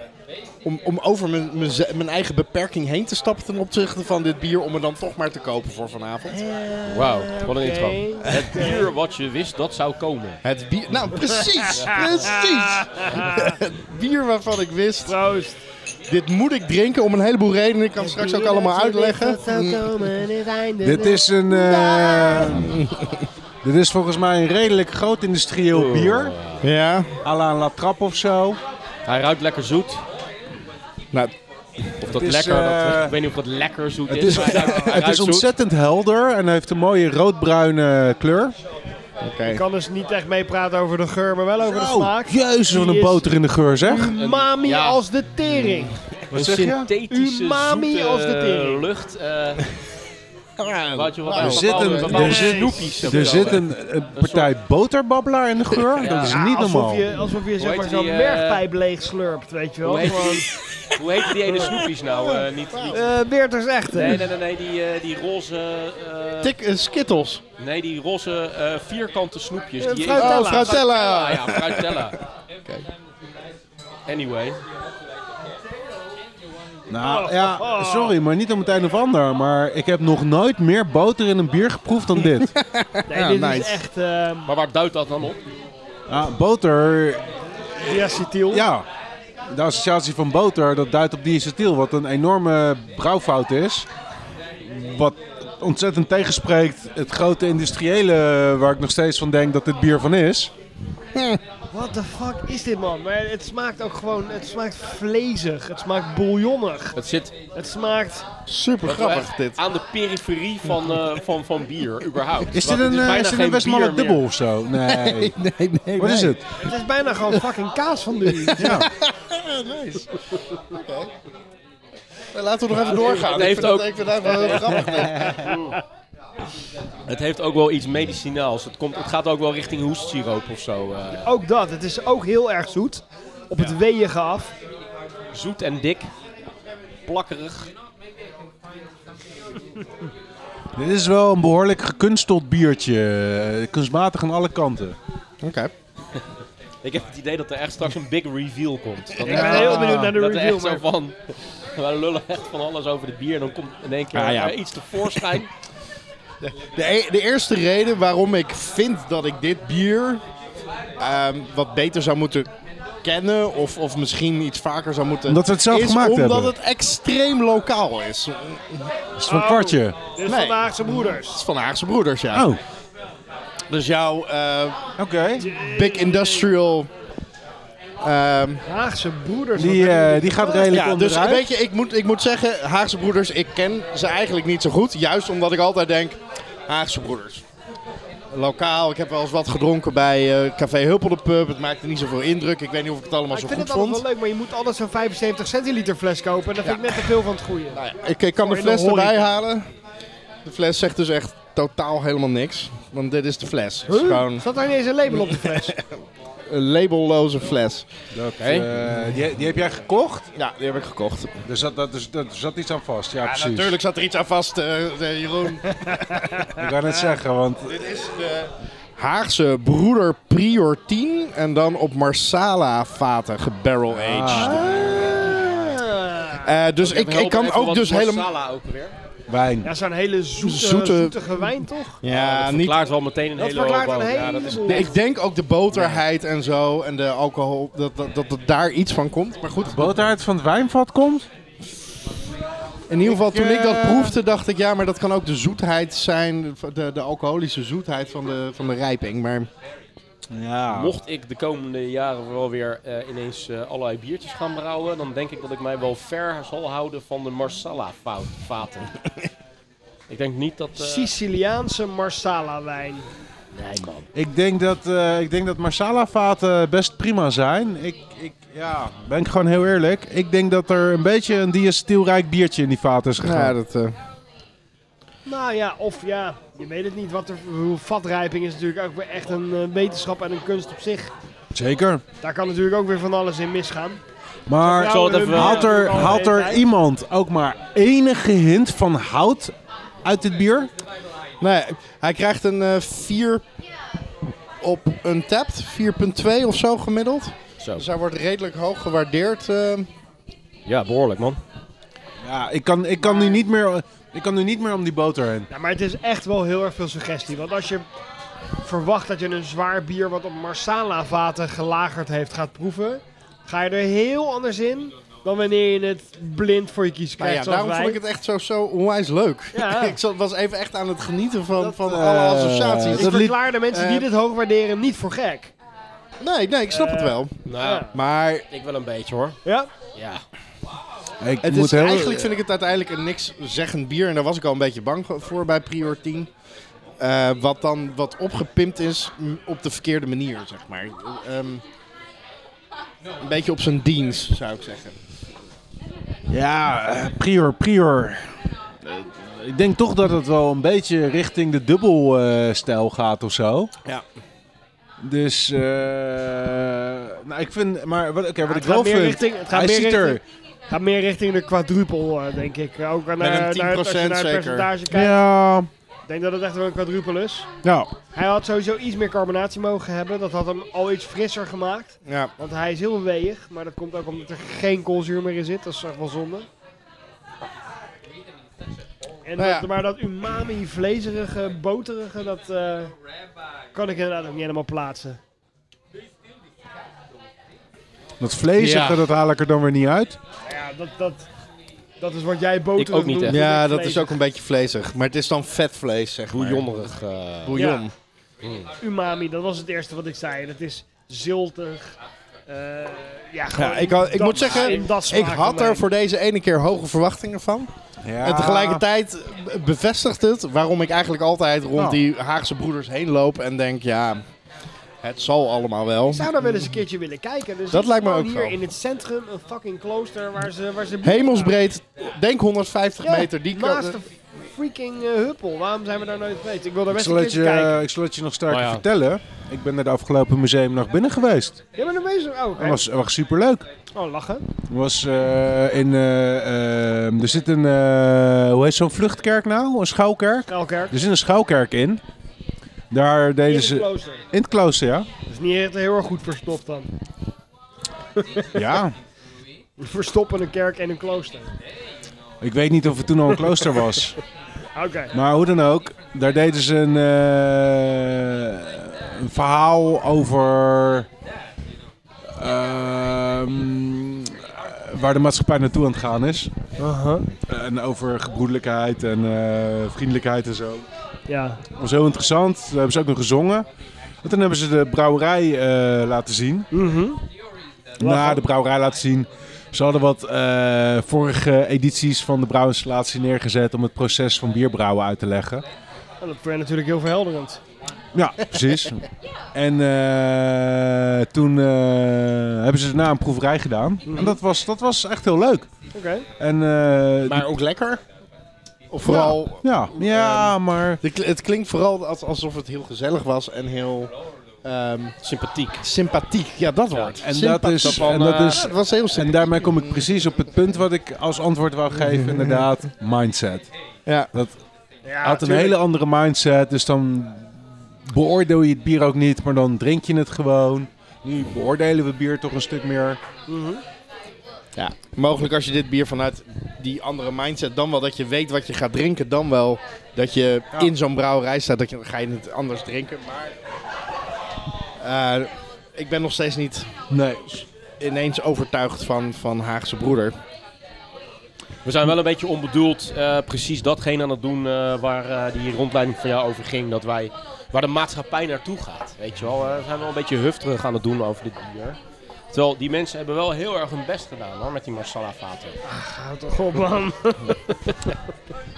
om, om over mijn, mijn, ze- mijn eigen beperking heen te stappen ten opzichte van dit bier, om het dan toch maar te kopen voor vanavond.
eh,
Wauw, wat een
Oké.
intro. Het bier wat je wist dat zou komen.
Het bier, nou precies, precies. het bier waarvan ik wist,
Proost.
dit moet ik drinken om een heleboel redenen. Ik kan het straks ook allemaal uitleggen.
Dit is een... dit is volgens mij een redelijk groot industrieel bier.
Ja,
A la La Trappe of zo.
Hij ruikt lekker zoet.
nou,
Of dat
Het is,
lekker, dat-
eh,
ik weet niet of dat lekker zoet
Het
is.
is,
maar hij ruikt- hij
het
ruikt
is
zoet.
ontzettend helder en heeft een mooie roodbruine kleur.
oké.
Ik kan dus niet echt meepraten over de geur, maar wel over de smaak.
Oh,
Mm.
jezus, wat
Die
een
is
boter in de geur zeg.
Umami
Ja.
als de tering.
Een
zeg je?
synthetische
Umami
zoete
als de tering.
lucht. eh,
Nou,
wat je wat
Er
uit
zit
bepaalde-
een- er
bepaalde
zit-
snoepjes hebt
Er
of zo,
zit
hè.
een, een partij boterbabbelaar in de geur. Dat is
Ja,
niet normaal.
Alsof je, alsof je zeg
heet
maar
die,
zo'n
eh,
bergpijp leeg slurpt, weet je wel.
Hoe heet
Gewoon,
die, hoe heet die ene snoepjes nou? eh, niet, niet-
eh, Beerters echt, hè?
nee, nee, nee, nee, die, eh, die roze... eh,
Tik eh, Skittles.
nee, die roze eh, vierkante snoepjes.
Eh,
die
fruitella.
Oh, Frautella.
Ah ja, fruitella. Anyway.
Nou ja, sorry, maar niet om het een of ander. Maar ik heb nog nooit meer boter in een bier geproefd dan dit.
Nee, dit
Ja,
is
nice.
echt... ehm,
Maar waar duidt dat dan op?
eh,
Ah, boter,
Diacetyl.
ja. De associatie van boter, dat duidt op diacetyl, wat een enorme brouwfout is. Wat ontzettend tegenspreekt het grote industriële waar ik nog steeds van denk dat dit bier van is.
What the fuck is dit, man? Maar het smaakt ook gewoon... Het smaakt vlezig. Het smaakt bouillonnig.
Het zit
Het smaakt...
Super grappig dit.
aan de periferie van, eh, van, van bier, überhaupt.
Is dit
Want het
een, eh,
bijna
is dit
geen
een Westmalle
bier meer.
dubbel of zo? Nee.
Nee, nee, nee.
Wat is het?
Het is bijna gewoon fucking kaas van nu.
Ja.
Laten we nog even doorgaan.
Het
ik,
heeft
vind dat-
ook-
ik vind het wel heel grappig.
Het heeft ook wel iets medicinaals. Het, komt, het gaat ook wel richting hoestsiroop of zo. eh.
Ook dat. Het is ook heel erg zoet. Op het weeëge af.
zoet en dik. Plakkerig.
Dit is wel een behoorlijk gekunsteld biertje. Eh, Kunstmatig aan alle kanten.
Oké.
Ik heb het idee dat er echt straks een big reveal komt. Dat
Ik ben heel benieuwd naar de
dat
review.
er
Maar...
echt zo van... We lullen echt van alles over het bier en dan komt in één keer
Ah, ja.
eh, iets tevoorschijn.
De, e- de eerste reden waarom ik vind dat ik dit bier ehm, wat beter zou moeten kennen of, of misschien iets vaker zou moeten...
Omdat we het zelf
is
gemaakt
omdat
hebben.
het extreem lokaal is. Het
Is het van
Oh.
kwartje?
Dit is
Nee.
vandaag zijn broeders.
is van Haagse Broeders, ja.
Oh,
Dus jouw eh,
oké.
big industrial... ehm,
Haagse broeders.
Die,
wat
eh,
hebben
die
we
gaat
gedaan?
redelijk
Ja, dus
onderuit.
weet je, ik moet, ik moet zeggen, Haagse Broeders, ik ken ze eigenlijk niet zo goed. Juist omdat ik altijd denk, Haagse Broeders. Lokaal, ik heb wel eens wat gedronken bij eh, Café Huppel de Pub. Het maakte niet zoveel indruk. Ik weet niet of ik het allemaal
Maar ik
zo
vind
goed
het altijd
vond.
wel leuk, maar je moet altijd zo'n 75 centiliter fles kopen. En dat vind ik net te veel van het goede.
Nou ja, ik, ik kan de
Voor in de
fles erbij
horeca.
halen. De fles zegt dus echt totaal helemaal niks. Want dit is de fles. Het is
Huh?
gewoon
Zat daar niet eens een label op de fles?
een labelloze fles.
Dat, eh, die, die heb jij gekocht?
Ja, die heb ik gekocht.
Er zat, dat, dus, dat, er zat iets aan vast, ja,
Ja,
precies.
natuurlijk zat er iets aan vast, eh, eh, Jeroen.
Ik kan het zeggen, want
Dit is de Haagse broeder Prior 10 en dan op Marsala vaten gebarrel aged. Eh, dus ik, ik kan ook dus helemaal...
Marsala ook weer.
wijn.
Ja, zo'n hele zoete,
Zoete-
zoetige wijn, toch?
Ja,
Ja,
dat
niet...
verklaart wel meteen een
Dat
hele
verklaart
hoop.
een
Ja, dat is-
heleboel.
Nee, ik denk ook de boterheid en zo en de alcohol, dat, dat, dat, dat daar iets van komt. Maar goed,
Boterheid van het wijnvat komt?
in ieder geval toen ik dat
eh,
proefde dacht ik, ja, maar dat kan ook de zoetheid zijn, de, de alcoholische zoetheid van de, van de rijping. Maar
Ja.
Mocht ik de komende jaren wel weer eh, ineens eh, allerlei biertjes gaan brouwen, dan denk ik dat ik mij wel ver zal houden van de Marsala-vaten. ik denk niet dat... eh,
Siciliaanse Marsala wijn.
Nee, man.
Ik denk dat, eh, ik denk dat Marsala-vaten best prima zijn. Ik, ik, ja, ben ik gewoon heel eerlijk. Ik denk dat er een beetje een diacetyelrijk biertje in die vaten is gegaan.
ja, dat... eh,
Nou ja, of ja, je weet het niet. Wat er, hoe vatrijping is natuurlijk ook weer echt een eh, wetenschap en een kunst op zich.
Zeker.
Daar kan natuurlijk ook weer van alles in misgaan.
Maar
zal het even-
haalt er, haalt er iemand ook maar enige hint van hout uit dit bier?
Nee, hij krijgt een 4 op een tap, 4.2 of zo gemiddeld.
Zo.
Dus hij wordt redelijk hoog gewaardeerd. eh.
Nou
Ja, behoorlijk, man.
Ja, ik kan, ik kan, nu, niet meer, ik kan nu niet meer om die boter heen.
Ja, maar het is echt wel heel erg veel suggestie. Want als je verwacht dat je een zwaar bier wat op Marsala vaten gelagerd heeft gaat proeven, ga je er heel anders in dan wanneer je het blind voor je kies
nou
krijgt.
ja,
zoals
daarom
wij.
vond ik het echt zo, zo onwijs leuk.
Ja.
ik zat- was even echt aan het genieten van,
Dat,
van
eh,
alle associaties.
Ik
dat liet-
verklaar de mensen die
eh,
dit hoog waarderen niet voor gek.
Nee, nee, ik snap
Eh,
het wel.
Nou,
Maar
ik wel een beetje, hoor.
Ja?
Ja.
Ik
het
moet
is,
heel-
eigenlijk vind ik het uiteindelijk een niks zeggend bier. En daar was ik al een beetje bang voor bij Prior 10. Eh, wat dan wat opgepimpt is m, op de verkeerde manier, zeg maar. Ehm, een beetje op zijn dienst, zou ik zeggen.
Ja, eh, prior, prior. Eh, ik denk toch dat het wel een beetje richting de dubbelstijl gaat of zo.
Ja.
Dus, eh, nou, ik vind, maar wat, oké, wat ik
het gaat
wel
meer
vind,
richting- het gaat
hij
meer
ziet er,
richting- Gaat meer richting de quadrupel, eh, denk ik. Ook naar,
een
naar het- als je
10%
naar het
zeker.
percentage kijkt.
ja,
Ik denk dat het echt wel een quadrupel is.
ja,
Hij had sowieso iets meer carbonatie mogen hebben. Dat had hem al iets frisser gemaakt.
Ja,
Want hij is heel weeg. Maar dat komt ook omdat er geen koolzuur meer in zit. Dat is echt wel zonde. En
Nou ja.
dat, maar dat umami, vlezerige, boterige, dat eh, kan ik inderdaad ook niet helemaal plaatsen.
Dat vleesige,
Ja.
dat haal ik er dan weer niet uit.
Nou Ja, dat, dat, dat is wat jij boter
Ik ook niet
doet.
echt.
Ja, dat is ook een beetje vleesig. Maar het is dan vetvlees, zeg maar.
Bouillonnerig. eh,
Bouillon.
Ja. Umami, dat was het eerste wat ik zei. Dat is ziltig. eh, ja, gewoon
Ja, ik, had- ik
dat-
moet zeggen,
in dat
ik
smaakdomein.
had er voor deze ene keer hoge verwachtingen van. En tegelijkertijd bevestigt het waarom ik eigenlijk altijd rond
Nou.
die Haagse broeders heen loop en denk, ja, het zal allemaal wel.
Ik zou daar wel eens een keertje willen kijken. Dus
Dat lijkt me ook
hier
zo.
in het centrum een fucking klooster waar ze... Waar ze
Hemelsbreed, denk 150
Ja,
meter. Die
naast
kant-
de freaking eh, huppel. Waarom zijn we daar nooit geweest? Ik wil daar
Ik
best
zal,
een
het
keertje
je,
kijken. Oh,
ik zal het je nog sterker
Nou ja.
vertellen. Ik ben naar de afgelopen museumnacht binnen geweest.
eh,
Jij bent er bezig? Oh, oké.
Dat was, was superleuk.
oh, lachen.
Was, eh, in, eh, eh, er zit een, eh, hoe heet zo'n vluchtkerk nou? Een schouwkerk?
Kuilkerk.
Er zit een schouwkerk in. Daar
In
deden
het
eh,
ze...
klooster.
In het klooster, ja.
Dat is niet echt heel erg goed verstopt dan.
Ja.
Verstoppen een kerk en een klooster.
Ik weet niet of het toen al een klooster was.
Oké.
Maar hoe dan ook, daar deden ze een, eh, een verhaal over ehm, waar de maatschappij naartoe aan het gaan is. En over gebroedelijkheid en eh, vriendelijkheid en zo.
Ja.
Dat was heel interessant. Daar hebben ze ook nog gezongen. Want dan hebben ze de brouwerij eh, laten zien. Na de brouwerij laten zien. Ze hadden wat eh, vorige edities van de brouwinstallatie neergezet om het proces van bierbrouwen uit te leggen.
Oh, Dat werd natuurlijk heel verhelderend.
Ja, precies. En eh, toen eh, hebben ze daarna een proeverij gedaan. En dat was, dat was echt heel leuk.
Oké.
En, eh,
Maar ook lekker. Of vooral,
ja, ja, maar...
de kl- het klinkt vooral als- alsof het heel gezellig was en heel ehm,
sympathiek.
sympathiek. Ja, dat wordt.
En dat is... En dat is
Het was heel sympathiek.
en daarmee kom ik precies op het punt wat ik als antwoord wou geven, inderdaad. Mindset.
Ja.
Ja,
Hij had een
tuurlijk.
hele andere mindset, dus dan beoordeel je het bier ook niet, maar dan drink je het gewoon. Nu beoordelen we bier toch een stuk meer.
Ja, mogelijk als je dit bier vanuit die andere mindset, dan wel dat je weet wat je gaat drinken, dan wel dat je in zo'n brouwerij staat, dat je, dan ga je het anders drinken. Maar eh, ik ben nog steeds niet
Nee.
ineens overtuigd van, van Haagse Broeder.
We zijn wel een beetje onbedoeld eh, precies datgene aan het doen eh, waar eh, die rondleiding van jou over ging. Dat wij, waar de maatschappij naartoe gaat. Weet je wel, eh, we zijn wel een beetje hufterig aan het doen over dit bier. Terwijl die mensen hebben wel heel erg hun best gedaan hoor, met die Marsala vaten.
Houd toch op, man.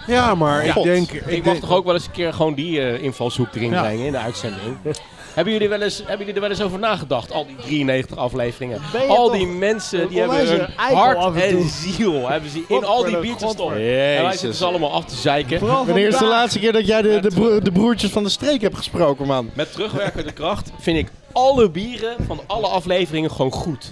Ja, maar ik
God.
denk...
Ik mag toch ook wel eens een keer gewoon die eh, invalshoek erin
Ja.
brengen in de uitzending. hebben, jullie wel eens, hebben jullie er wel eens over nagedacht? Al die 93 afleveringen.
Ben je
Al
toch
die mensen
een
die hebben
onwijze
hun
eikel af
hart
en
en
toe.
ziel hebben ze in al die
Godverdomme,
biertjes stoppen.
godverdomme.
En wij
Jezus.
zitten ze allemaal af te zeiken.
Vooral
Wanneer is de
vandaag.
laatste keer dat jij de, de, bro- de broertjes van de streek hebt gesproken, man?
Met terugwerkende kracht vind ik alle bieren van alle afleveringen gewoon goed.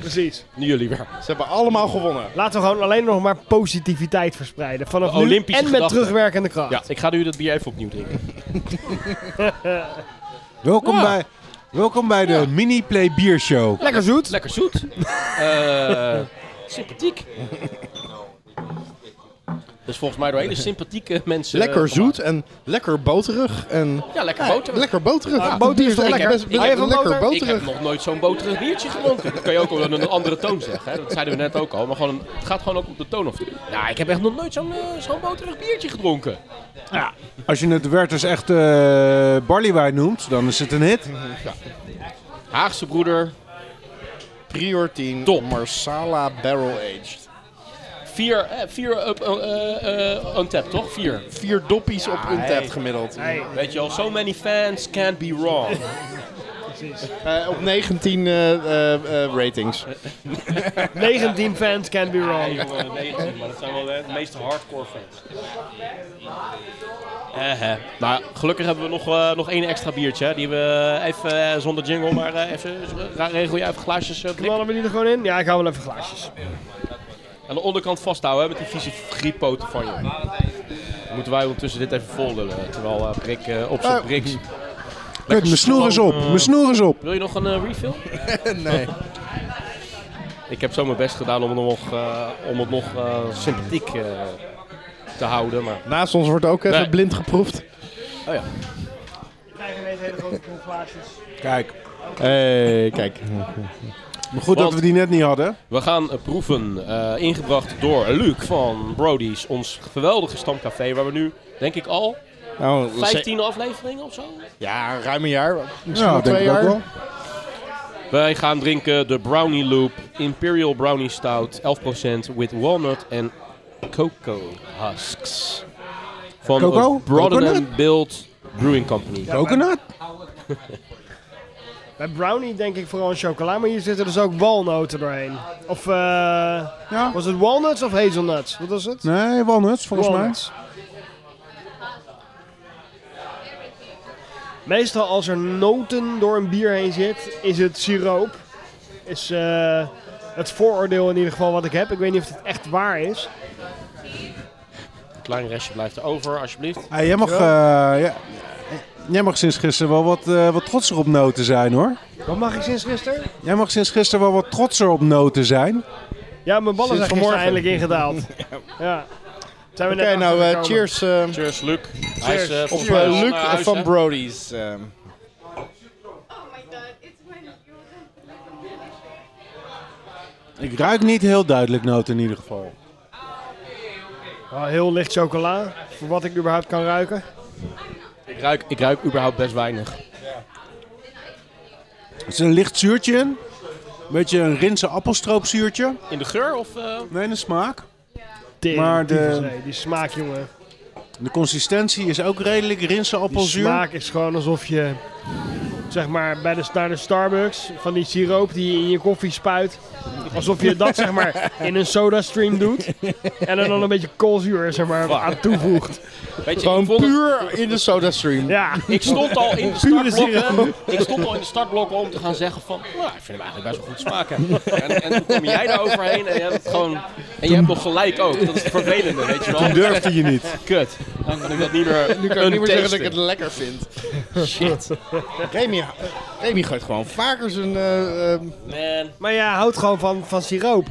Precies.
Nu jullie weer.
Ze hebben allemaal gewonnen.
Laten we gewoon alleen nog maar positiviteit verspreiden. Vanaf
De
nu
Olympische
en met
gedachte.
terugwerkende kracht.
Ja, ik ga nu dat bier even opnieuw drinken.
Welkom,
Ja.
bij, welkom bij de Mini Play Bier Show.
Lekker zoet.
Lekker zoet. Eh, sympathiek. Dus volgens mij door hele sympathieke mensen. eh,
Lekker
gemaakt.
zoet en lekker boterig. En,
Ja, lekker
Ja,
boterig.
Lekker boterig.
Ja,
Dit
boter is
is
toch
echt
lekker?
best-
Ik heb een
lekker
boter.
Ik heb
boterig.
nog nooit zo'n boterig biertje gedronken. Dat kan je ook wel in een andere toon zeggen. Hè? Dat zeiden we net ook al. Maar gewoon, een- het gaat gewoon ook op de toon of. Nou, ik heb echt nog nooit zo'n eh, zo'n boterig biertje gedronken.
Als je het Werther's echt eh barleywijn noemt, dan is het een hit.
Haagse broeder,
Prior 10
Top.
Marsala Barrel Aged.
vier, eh, vier up, eh, eh, untapped, toch? Vier.
Vier doppies op Untappd
hey.
gemiddeld.
Hey,
Weet je al, so many fans can't be wrong.
precies.
Eh, op 19 eh, eh, eh, ratings.
19 fans can be wrong.
maar dat zijn wel de meeste hardcore fans. nou, gelukkig hebben we nog, eh, nog één extra biertje. hè, Die we even eh, zonder jingle, maar eh, even ra- regel je even glaasjes. eh, op.
Knallen we die er gewoon in? Ja, ik hou wel even glaasjes.
Aan de onderkant vasthouden hè, met die vieze grieppoten van je. Dan moeten wij ondertussen dit even vol lullen, Terwijl eh, Brik eh, op zijn
Eh.
Briks.
Kut, Nou, mijn snoer is op,
eh,
mijn snoer is op.
Wil je nog een eh, refill?
nee.
Ik heb zo mijn best gedaan om het nog, eh, om het nog eh, sympathiek eh, te houden. Maar
Naast ons wordt ook even
Nee.
blind geproefd.
We krijgen ineens hele grote glaasjes.
Kijk,
Hey, Eh, kijk.
maar goed
Want-
dat we die net niet hadden.
We gaan eh, proeven, eh, ingebracht door Luc van Brody's, ons geweldige stamcafé, waar we nu, denk ik, al
Nou, ze-
15 afleveringen of zo.
Ja, ruim een jaar. Misschien
Ja,
wel
denk
twee
ik ook
jaar.
wel.
Wij gaan drinken de Brownie Loop Imperial Brownie Stout 11% with walnut en cocoa husks. Van
Cocoa?
Broaden
Coconut?
Build Brewing Company.
Coconut?
Bij brownie denk ik vooral aan chocola, maar hier zitten dus ook walnoten doorheen. Of eh,
Ja.
was het walnuts of hazelnuts? Wat was het?
Nee, walnuts volgens
Walnuts. Meestal als er noten door een bier heen zit, is het siroop. Is eh, het vooroordeel in ieder geval wat ik heb. Ik weet niet of het echt waar is.
Een klein restje blijft er over, alsjeblieft.
mij. Ah, jij, mag, eh, ja, jij mag sinds gisteren wel wat, eh, wat trotser op noten zijn hoor.
Wat mag ik sinds gisteren?
Jij mag sinds gisteren wel wat trotser op noten zijn.
Ja, mijn ballen
Sinds
zijn gisteren
vanmorgen.
eindelijk ingedaald. ja. Zijn we
Oké,
net
nou, eh,
achtergekomen.
cheers eh,
Cheers, Luc. Hij is, eh,
op
volgens
eh,
mij al
Luc
naar huis,
van
hè?
Brody's. eh.
Oh my god, it's when you don't like a minute.
Ik ruik niet heel duidelijk noten in ieder geval.
Wel Ah, heel licht chocola, voor wat ik überhaupt kan ruiken.
Ik ruik, ik ruik überhaupt best weinig.
Er zit een licht zuurtje in. Een beetje een rinse appelstroopzuurtje.
In de geur of... eh,
Nee, de smaak.
Tering,
Maar de-
tyfus, nee, die smaak, jongen.
De consistentie is ook redelijk rinse
Die
appelzuur.
smaak is gewoon alsof je, zeg maar, bij de, naar de Starbucks van die siroop die je in je koffie spuit. Alsof je dat, zeg maar, in een sodastream doet. En er dan een beetje koolzuur, zeg maar, aan toevoegt.
weet je, ik
Gewoon
vond het-
puur in de SodaStream.
Ja.
Ik stond al in de
Pure
startblokken. Ik stond al in de startblokken om te gaan zeggen van, nou, ik vind hem eigenlijk best wel goed smaken. En, en toen kom jij daar overheen en je hebt het gewoon, en je hebt nog gelijk ook. Dat is het vervelende, weet je wel.
Durfde je niet.
Kut. Dan kan ik dat niet meer.
Nu kan ik niet meer zeggen dat ik het lekker vind. Shit. Remy, eh, Remy gooit gewoon vaker zijn... eh, eh,
Man.
Maar ja, houdt gewoon van, van siroop.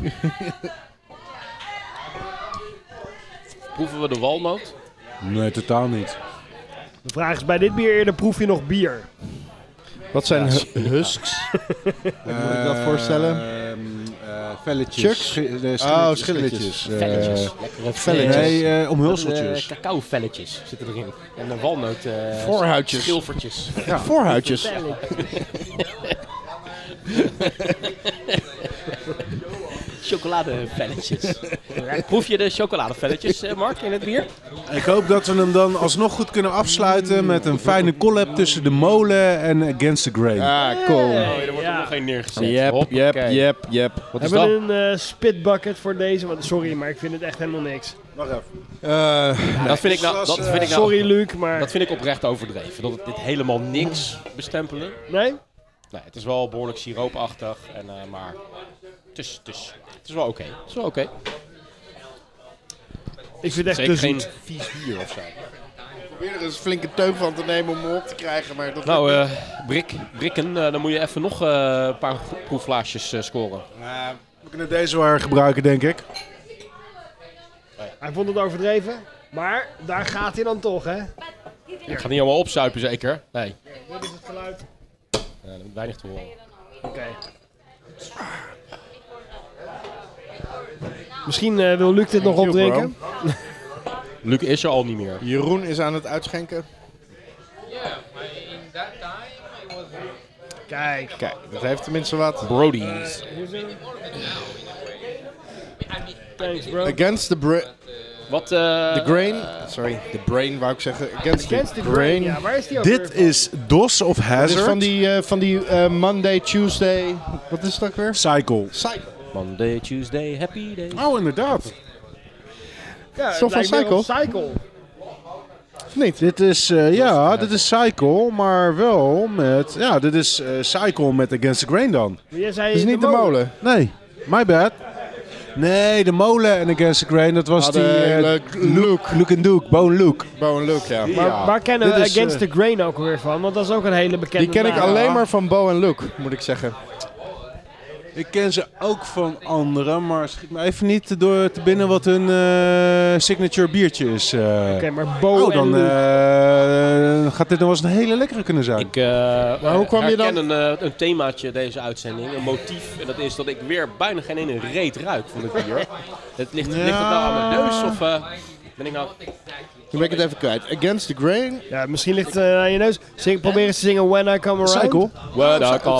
Proeven we de walnoot?
Nee, totaal niet.
De vraag is, bij dit bier eerder proef je nog bier?
wat zijn hu- husks? Eh, Hoe moet ik dat voorstellen?
velletjes.
Chucks? Oh, schilletjes.
eh,
Velletjes. Lekkere
velletjes.
velletjes.
nee, eh, omhulseltjes.
Cacao-velletjes zitten erin. En een walnoot. eh,
Voorhuidjes.
Schilfertjes.
Voorhuidjes.
Chocoladevelletjes. Proef je de chocoladevelletjes, eh, Mark, in het bier?
Ik hoop dat we hem dan alsnog goed kunnen afsluiten met een fijne collab tussen de molen en Against the Grain.
Ah, cool.
Nee, Oh, er wordt
Ja.
nog geen neergezet.
Yep, yep,
Hoppakee.
yep, yep. Wat
Dus
is
Hebben
dat?
we een eh, spitbucket voor deze? Want sorry, maar ik vind het echt helemaal niks.
Eh,
Dat vind ik nou, dat vind ik nou
Sorry, Luc, maar...
Dat vind ik oprecht overdreven. Dat het dit helemaal niks bestempelen.
Nee?
Nee, het is wel behoorlijk siroopachtig. En, eh, maar het is, het, is, het is wel oké. Het is wel oké.
Ik vind het echt
Zeker
te
geen
zoet.
vies bier of zo.
probeer er eens flinke teug van te nemen om hem op te krijgen, maar dat
Nou, eh, Brik, Brikken, eh, dan moet je even nog eh, een paar go- proeflaasjes eh, scoren.
we kunnen deze wel gebruiken, denk ik.
Hij vond het overdreven, maar daar gaat hij dan toch, hè?
Ik ga niet allemaal opzuipen, zeker? Nee,
Dit is het geluid.
Eh, er moet weinig te horen.
Oké. Misschien eh, wil Luc dit nog
you, bro.
opdrinken.
Luc is er al niet meer.
Jeroen is aan het uitschenken.
Kijk.
Kijk, dat heeft tenminste wat.
Brody's.
Thanks, bro.
Against the, bra-
Wat, eh,
the grain. Sorry, the brain wou ik zeggen. Against,
Against
the,
the
grain.
grain. Ja, waar is die ook
Dit
weer van?
is DOS of
Dat is
Hazard.
van die, eh, van die eh, Monday, Tuesday. Wat is dat ook weer?
Cycle.
Cycle.
Monday, Tuesday, happy day.
Oh, inderdaad.
Ja, het
Zo van
lijkt meer op Cycle.
Of niet?
Dit is, eh, ja, dit is Cycle, maar wel met... Ja, dit is eh, Cycle met Against the Grain dan.
Maar jij zei
Het is
de
niet de
molen.
molen.
Nee, my bad. Nee, de molen en Against the Grain, dat was die...
Hadden
eh,
leuk look.
Luke and Duke, Bone Luke.
Bow and Luke, ja.
Maar
Ja,
waar kennen we
dit is,
Against
eh,
the Grain ook alweer van? Want dat is ook een hele bekende
Die ken ik
naam.
alleen maar van Bo en Luke, moet ik zeggen.
Ik ken ze ook van anderen, maar schiet me even niet door te binnen wat hun eh, signature biertje is. eh.
Oké, maar Bo
oh, dan
en Lou.
eh, gaat dit nog wel eens een hele lekkere kunnen zijn.
Ik, eh,
hoe kwam je dan-
herken Een, eh, een themaatje deze uitzending, een motief. En dat is dat ik weer bijna geen ene reet ruik van het bier. het ligt, ligt dat nou aan mijn neus of eh, ben ik nou...
Toen ben ik het even kwijt. Against the Grain.
Ja, misschien ligt het eh, aan je neus. Zing, probeer eens te zingen When I Come Around.
Cycle.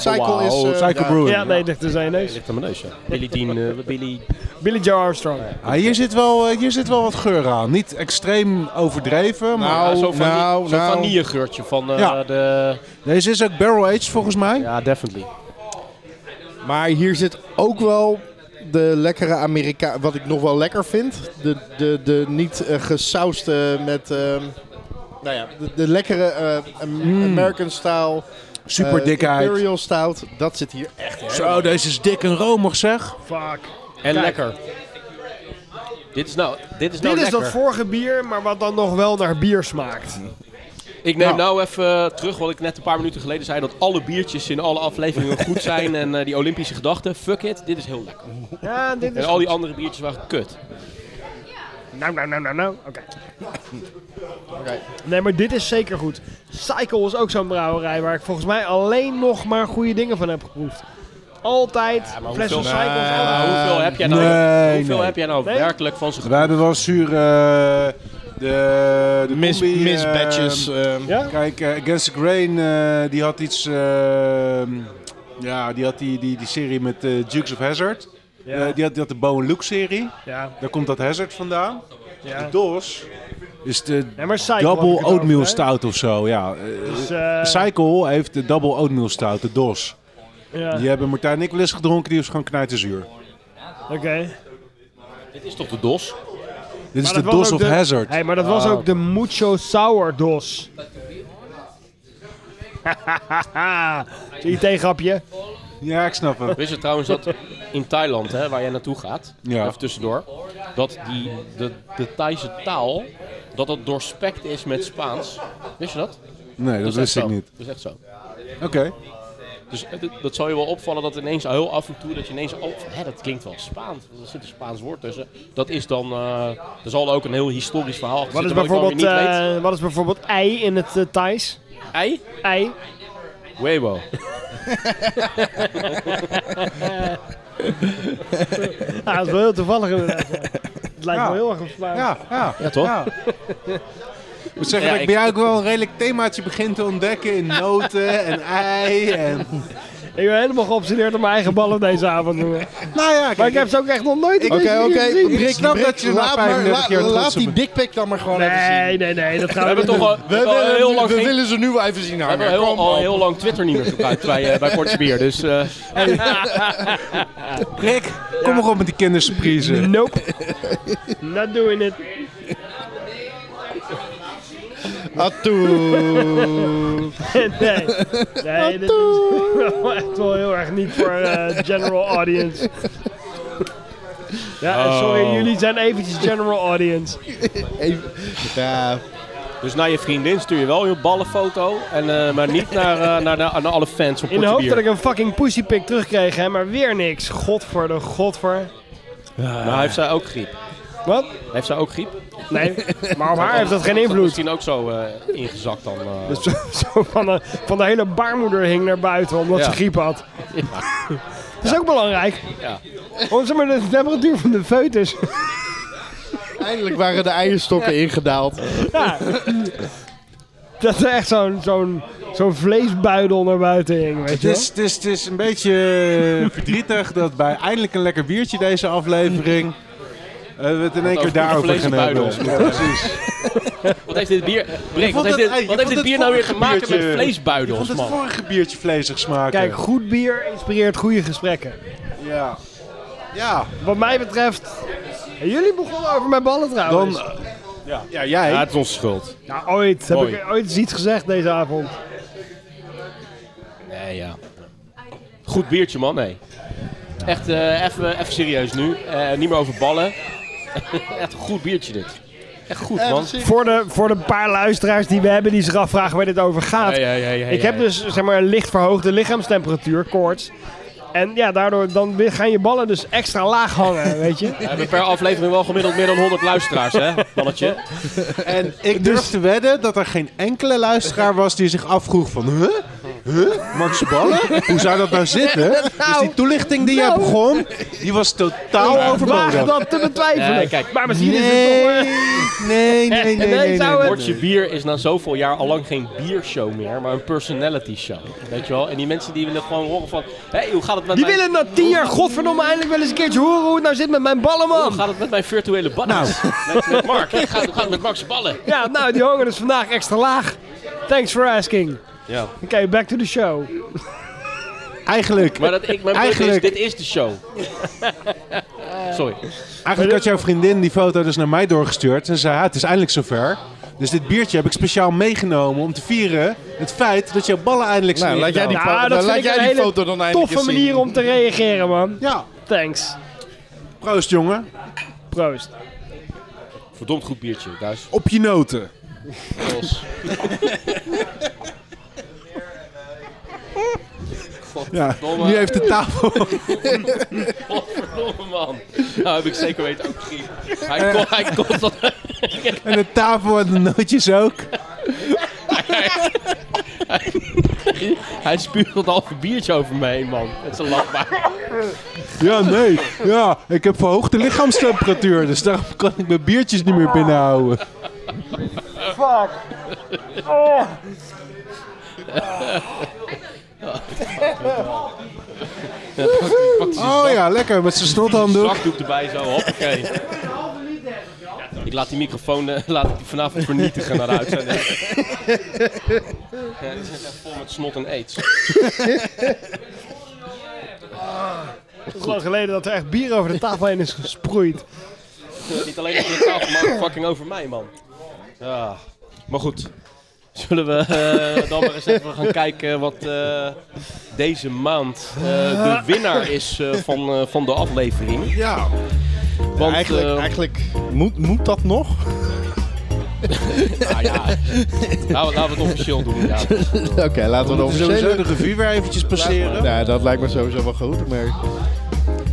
Cycle is, eh,
Oh, Cycle
ja.
Brewing.
Ja, nee, het ligt dus aan je neus.
Oh, Ligt aan mijn neus, ja. Billy Dean, eh, Billy...
Billy Joe Armstrong.
Ah, hier, zit wel, eh, hier zit wel wat geur aan. Niet extreem overdreven, maar
Ja, zo'n vani-
nou,
zo'n
nou.
vanillegeurtje van eh,
Ja.
de...
deze is ook barrel aged volgens mij.
Ja, definitely.
Maar hier zit ook wel de lekkere Amerika... Wat ik nog wel lekker vind. De, de, de niet eh, gesauste met... ehm, nou ja, de, de lekkere eh, Am- American style.
Hmm. Super
eh,
dik uit.
Imperial stout. Dat zit hier echt in.
Zo, deze is dik en romig zeg.
Fuck.
En
Kijk.
lekker. Dit is nou, dit is nou
Dit is
lekker.
dat vorige bier, maar wat dan nog wel naar bier smaakt.
Ik neem nou even terug wat ik net een paar minuten geleden zei. Dat alle biertjes in alle afleveringen goed zijn. En eh, die Olympische gedachte. Fuck it, dit is heel lekker.
Ja, dit is...
En al die andere biertjes waren kut.
Nou, nou, nou, nou, nou. Oké.
Oké.
Nee, maar dit is zeker goed. Cycle is ook zo'n brouwerij waar ik volgens mij alleen nog maar goede dingen van heb geproefd. Altijd.
maar
fles van
hoeveel-
Cycle. is
Maar
altijd-
hoeveel heb jij nou,
Ehm, nee,
hoeveel
nee.
heb jij nou
Nee.
werkelijk van ze
We hebben wel zuur eh, de, de
Miss,
combi,
miss
eh,
Batches. ehm,
Ja?
Kijk, eh, Against the Grain, eh, die had iets... eh, ja, die had die, die, die serie met eh, Dukes of Hazard.
Ja.
die, had, die had de Bow Luke serie.
Ja.
Daar komt dat Hazard vandaan.
ja.
De DOS is de
Nee, maar Cycle heb ik
Double
het over,
Oatmeal
hè?
Stout of zo. Ja.
Dus,
Eh,
eh,
Cycle heeft de Double Oatmeal Stout, de DOS.
ja.
Die hebben Martijn en ik wel eens gedronken, die was gewoon knijterzuur.
Oké.
Dit is toch de DOS?
Dit
Maar
is de
dat was
DOS
ook
of Hazard. Oh.
Hey, maar dat was ook de Mucho Sour Dos. IT-grapje.
Ja, ik snap het.
Wist je trouwens dat in Thailand, hè, waar jij naartoe gaat,
Ja.
even tussendoor, dat die, de, de Thaise taal, dat dat doorspekt is met Spaans. Wist je dat?
Nee, dat
is
wist
echt
ik
zo.
niet.
Dat is echt zo.
Oké.
Dus eh, dat- dat zal je wel opvallen dat ineens heel af en toe dat je ineens oh, hè, dat klinkt wel Spaans. Er zit een Spaans woord tussen. Dat is dan, eh er zal ook een heel historisch verhaal achter
Wat is,
zitten, ik dan weer
bijvoorbeeld,
niet weet.
eh, wat is bijvoorbeeld ei in het eh, Thais?
Ei?
Ei.
Weibo.
Ja, Ah, dat is wel heel toevallig inderdaad. ja. Het lijkt
Ja.
me heel erg op Vlaams.
Ja, ja.
Ja, toch?
Ik moet zeggen
Ja,
dat ik
ik-
bij jou ook wel een redelijk themaatje begin te ontdekken in noten en ei. En...
Ik ben helemaal geobsedeerd op mijn eigen ballen deze avond. jongen.
Nou ja,
Maar ik heb ze ook echt nog nooit in
Oké,
deze
oké.
video gezien.
Ik
Brik,
snap
Brik,
dat je na
laat, maar,
35 jaar
la-
trots
laat
op
die
bent.
dikpik dan maar gewoon even zien.
Nee, nee, nee. Dat
We
gaan we
hebben toch al, we
We,
hebben al
willen,
heel lang
we
geen-
willen ze nu wel even zien
we hebben
hangen.
al heel,
Kom
al
op.
heel lang Twitter niet meer gebruikt bij, eh, bij Kortse Bier. Dus eh,
Rick, kom maar op met die kindersurprise.
Nope. Not doing it.
Atoe.
nee, nee dit is wel echt wel heel erg niet voor eh, general audience. Ja, en
Oh.
sorry, jullie zijn eventjes general audience.
Even- Ja,
Dus naar je vriendin stuur je wel je ballenfoto, en, eh, maar niet naar, eh, naar, de- naar alle fans op
In
Kortse
de hoop dat ik
Bier.
een fucking pussypick terugkreeg, hè, maar weer niks. Godver de godver.
Maar heeft zij ook griep?
Wat?
Heeft zij ook griep?
Nee, maar op haar heeft dat geen
Dat is
invloed.
misschien ook zo eh, ingezakt dan. eh.
Dus zo van de, van de hele baarmoeder hing naar buiten omdat
Ja.
ze griep had. Dat is ook belangrijk.
Ja.
Om zeg maar de temperatuur van de foetus.
eindelijk waren de eierstokken ingedaald.
Ja. Dat er echt zo'n zo'n zo'n vleesbuidel naar buiten hing, weet
Het
je wel?
is, het, is, het is een beetje eh, verdrietig dat bij eindelijk een lekker biertje deze aflevering... eh, we het in één
over
keer daarover
gevlezen
gaan hebben.
buidels. Wat heeft dit bier, Brik, wat
vond
heeft
het-
dit,
hey,
wat
ik vond
heeft dit
het
bier nou weer te
vorige
maken met
biertje- Ik
vleesbuidels,
vond het
man?
vorige biertje vleesig smaken.
Kijk, goed bier inspireert goede gesprekken.
ja. Ja,
Wat mij betreft... en jullie begonnen over mijn ballen trouwens.
dan... ja. ja, jij.
Ja, het is onze schuld.
ja, ooit. Heb
Mooi.
ik ooit eens iets gezegd deze avond.
Nee, Eh, ja. Goed biertje, man. Nee. Echt eh, even even serieus nu. Eh, niet meer over ballen. Echt een goed biertje dit. Echt goed, man.
Voor de, voor de paar luisteraars die we hebben die zich afvragen waar dit over gaat.
Ja, ja, ja, ja,
Ik heb
ja.
dus zeg maar, een licht verhoogde lichaamstemperatuur, koorts. En ja, daardoor dan weer gaan je ballen dus extra laag hangen, weet je.
We hebben per aflevering wel gemiddeld meer dan 100 luisteraars, hè, mannetje?
En Dus ik durf te wedden dat er geen enkele luisteraar was die zich afvroeg van... Huh? Huh? Max Ballen? Hoe zou dat nou zitten? dus die toelichting die jij begon, die was totaal
Wagen
overbodig.
dat te betwijfelen.
Nee, Eh, kijk.
maar misschien
Nee,
is het toch... eh,
nee, nee, nee, nee,
Nee,
nee,
zou
nee,
het-
nee.
Portje Bier is na zoveel jaar al lang geen biershow meer, maar een personality show. Weet je wel? En die mensen die willen gewoon horen van, hé, hoe gaat het met
Die
mijn...
willen na tien jaar godverdomme eindelijk wel eens een keertje horen hoe het nou zit met mijn ballen,
Hoe
man.
gaat het met mijn virtuele ballen? Met, met Mark. Hoe gaat, hoe gaat het met Max ballen?
Ja, nou, die hangen dus vandaag extra laag. Thanks for asking.
Ja.
Oké, back to the show.
Eigenlijk,
Maar dat, ik, mijn punt is,
Eigenlijk-
dit is de show. Sorry.
eigenlijk had jouw vriendin die foto dus naar mij doorgestuurd. En zei, "Ah, het is eindelijk zover. Dus dit biertje heb ik speciaal meegenomen om te vieren het feit dat jouw ballen eindelijk zijn.
Nou, laat jij die,
Ja,
foto-
dat
dan
vind
laat
ik
jij
een
die
hele
foto dan eindelijk
Toffe
eens zien.
manier om te reageren, man.
Ja,
Thanks.
proost jongen.
Proost.
Verdomd goed biertje, Duis.
Op je noten. Ja, nu heeft de tafel...
Godverdomme, man. Nou, heb ik zeker weten ook gezien. Hij kon, hij kon dat...
En de tafel en de nootjes ook.
Hij spuugt dat halve biertje over me heen, man. Het is een lachbaar.
Ja, nee. Ja, ik heb verhoogde lichaamstemperatuur. Dus daarom kan ik mijn biertjes niet meer binnenhouden.
Fuck.
Oh ja, lekker. Met zijn snothanddoek.
Zakdoek erbij zo, hoppakee. Ik laat die microfoon eh, laat ik die vanavond vernietigen naar de uitzending. Ja, die zit echt vol met snot en aids.
Het is lang geleden dat er echt bier over de tafel heen is gesproeid.
Niet alleen over de tafel, maar ook fucking over mij, man. Ja. Maar goed. Zullen we eh, dan maar eens even gaan kijken wat eh, deze maand eh, de winnaar is eh, van, eh, van de aflevering.
Ja,
Want,
eigenlijk,
eh,
eigenlijk moet, moet dat nog?
nou ja, laten we, laten we het officieel doen. Ja.
Oké, laten we dan
de
officieel
revue weer eventjes passeren.
Ja, dat lijkt me sowieso wel goed. Maar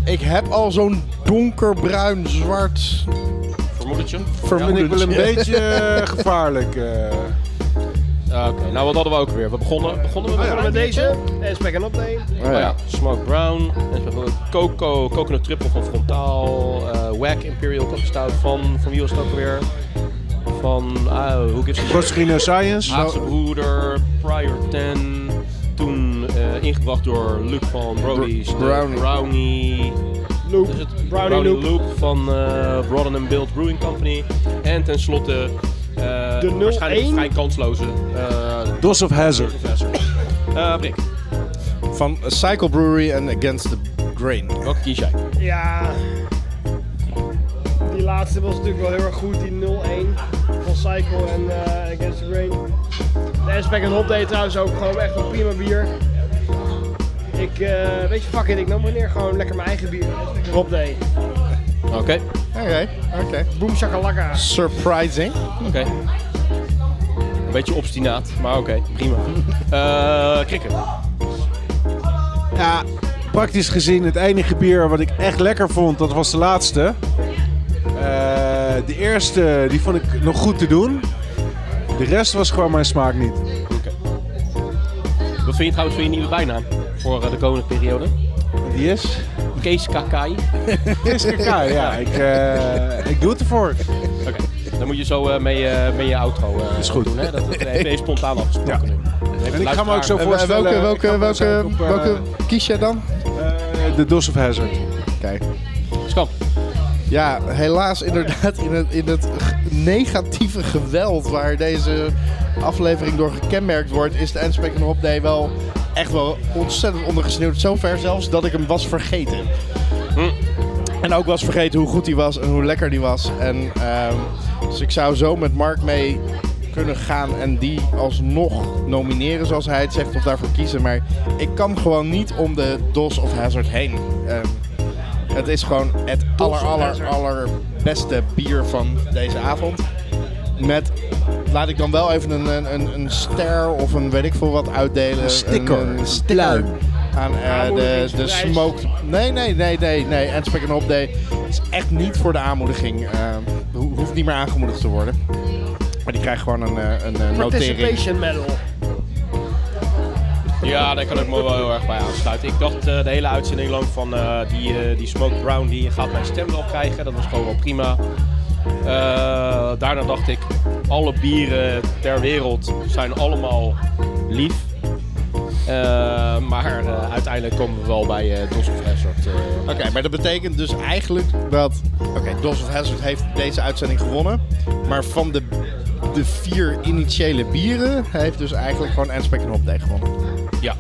ik heb al zo'n donkerbruin, zwart
Vermoedertje?
Vind ik wel een
vermoeden.
beetje eh, gevaarlijk. eh.
Ja, Oké, nou wat hadden we ook weer? We begonnen, begonnen we met,
Met deze, en spek en opneem.
Oh ja, Smoke Brown, en ze hebben Coco, Coconut Triple van Frontaal, eh Wack Imperial Coffee Stout van, van wie was het ook alweer? Van, ah, hoe gives a shit?
Prosperino Science.
Haagse Broeder, Prior 10, toen eh, ingebracht door Luc van Brody's, de
Brownie.
Brownie,
Loop.
dus het
Brownie
Brownie
Loop.
Loop van eh Broaden and Build Brewing Company, en tenslotte eh
De 01?
waarschijnlijk vrij kansloze eh,
Dos of Hazard.
professor. Eh Rick,
Van Cycle Brewery en Against the Grain.
welke kies jij?
Ja. Die laatste was natuurlijk wel heel erg goed, die 0-1 van Cycle en eh, Against the Grain. De Aspect en Hop deed trouwens ook gewoon echt een prima bier. Ik, eh, weet je, fuck it, ik nam wanneer gewoon lekker mijn eigen bier. Aspect en Hop deed.
Oké,
Oké, oké.
Boom shakalaka.
Surprising.
oké. Een beetje obstinaat, maar oké, prima. Eh Krikken.
Ja, praktisch gezien het enige bier wat ik echt lekker vond, dat was de laatste. Eh, de eerste, die vond ik nog goed te doen. De rest was gewoon mijn smaak niet.
Wat vind je trouwens van je nieuwe bijnaam voor eh, de komende periode?
Die is?
Kees Kakai. Oké,
Is KK, ja. Ik, eh, ik doe het ervoor.
dan moet je zo eh, mee, eh, mee je outro eh,
Is goed.
doen. Hè? Dat dat heb je spontaan afgesproken
Ja.
nu.
En ik ga me ook zo
En welke,
voorstellen...
welke,
ik ga
welke,
me ook
welke,
zo op, eh,
kies jij dan?
eh, de Dos of Hazard.
Kijk.
Skamp.
Ja, helaas inderdaad in het, in het g- negatieve geweld waar deze aflevering door gekenmerkt wordt, is de Enspec en Hop Day wel echt wel ontzettend ondergesneeuwd. Zover zelfs dat ik hem was vergeten. En ook was vergeten hoe goed hij was en hoe lekker die was. En, ehm, dus ik zou zo met Mark mee kunnen gaan en die alsnog nomineren zoals hij het zegt of daarvoor kiezen. Maar ik kan gewoon niet om de DOS of Hazard heen. Ehm, het is gewoon het aller, aller, aller beste bier van deze avond. Met, laat ik dan wel even een, een, een, een ster of een weet ik veel wat uitdelen.
Een sticker.
Een, een sticker aan eh, de, de
Aanmoedigingsprijs.
smoked... Nee, nee, nee, nee, nee. En Spek and Hop Day is echt niet voor de aanmoediging. eh, ho- hoeft niet meer aangemoedigd te worden. Maar die krijgt gewoon een, eh, een eh, notering.
Participation medal.
Ja, daar kan ik me wel heel erg bij aansluiten. Ik dacht eh, de hele uitzending lang van eh, die, eh, die Smoke Brown die gaat mijn stem wel krijgen. Dat was gewoon wel prima. Eh, daarna dacht ik, alle bieren ter wereld zijn allemaal lief. Eh, maar eh, uiteindelijk komen we wel bij eh Dos of Hazard. eh.
Oké, maar dat betekent dus eigenlijk dat... Oké, Dos of Hazard heeft deze uitzending gewonnen. Maar van de, de vier initiële bieren heeft dus eigenlijk gewoon Anspek en Hop Day gewonnen.
ja.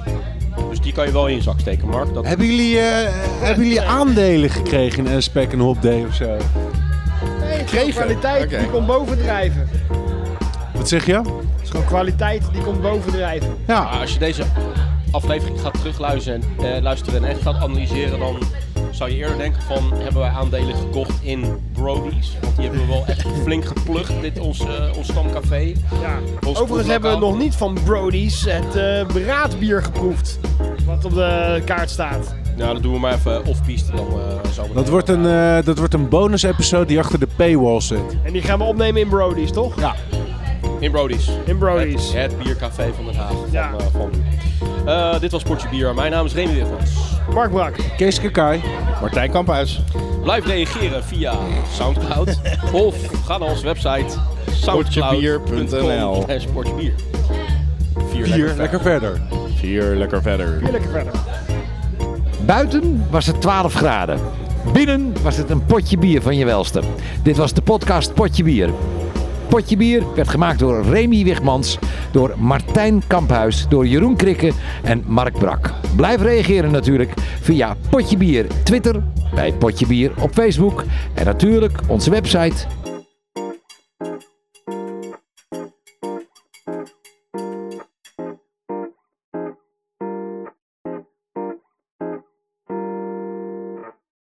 Dus die kan je wel in je zak steken, Mark. Dat...
Hebben jullie, eh, hebben jullie aandelen gekregen in Spec and Hop Day of zo?
Nee, het is gewoon
Gekregen.
kwaliteit
Oké.
die komt bovendrijven. Het
Wat zeg je?
is gewoon kwaliteit die komt bovendrijven.
Ja,
Maar Nou, als je deze aflevering gaat terugluisteren en, eh, luisteren en echt gaat analyseren, dan zou je eerder denken van hebben wij aandelen gekocht in Brody's? Want die hebben we wel echt flink geplukt, dit ons, eh, ons stamcafé.
Ja.
Ons
Overigens hebben we nog niet van Brody's het eh braadbier geproefd. Wat op de kaart staat.
Nou, dat doen we maar even off-piste dan eh zo.
dat wordt een, eh, dat wordt een bonus episode die achter de paywall zit.
En die gaan we opnemen in Brody's, toch?
Ja.
In Brody's.
eh, In Brody's.
Het, het biercafé van Den Haag.
Ja.
Van, eh, van nu. Eh, dit was Portje Bier. Mijn naam is Remy Wigmans.
Mark Brak.
Kees Kakai.
Martijn Kamphuis.
Blijf reageren via Soundcloud of ga naar onze website
Potjebier.nl.
soundcloud.nl portjebier. Vier, lekker.
Lekker verder.
Vier lekker verder.
Weer lekker verder.
Buiten was het 12 graden. Binnen was het een potje bier van je welste. Dit was de podcast Potje Bier. Potje Bier werd gemaakt door Remy Wigmans, door Martijn Kamphuis, door Jeroen Krikke en Mark Brak. Blijf reageren natuurlijk via Potje Bier Twitter, bij Potje Bier op Facebook en natuurlijk onze website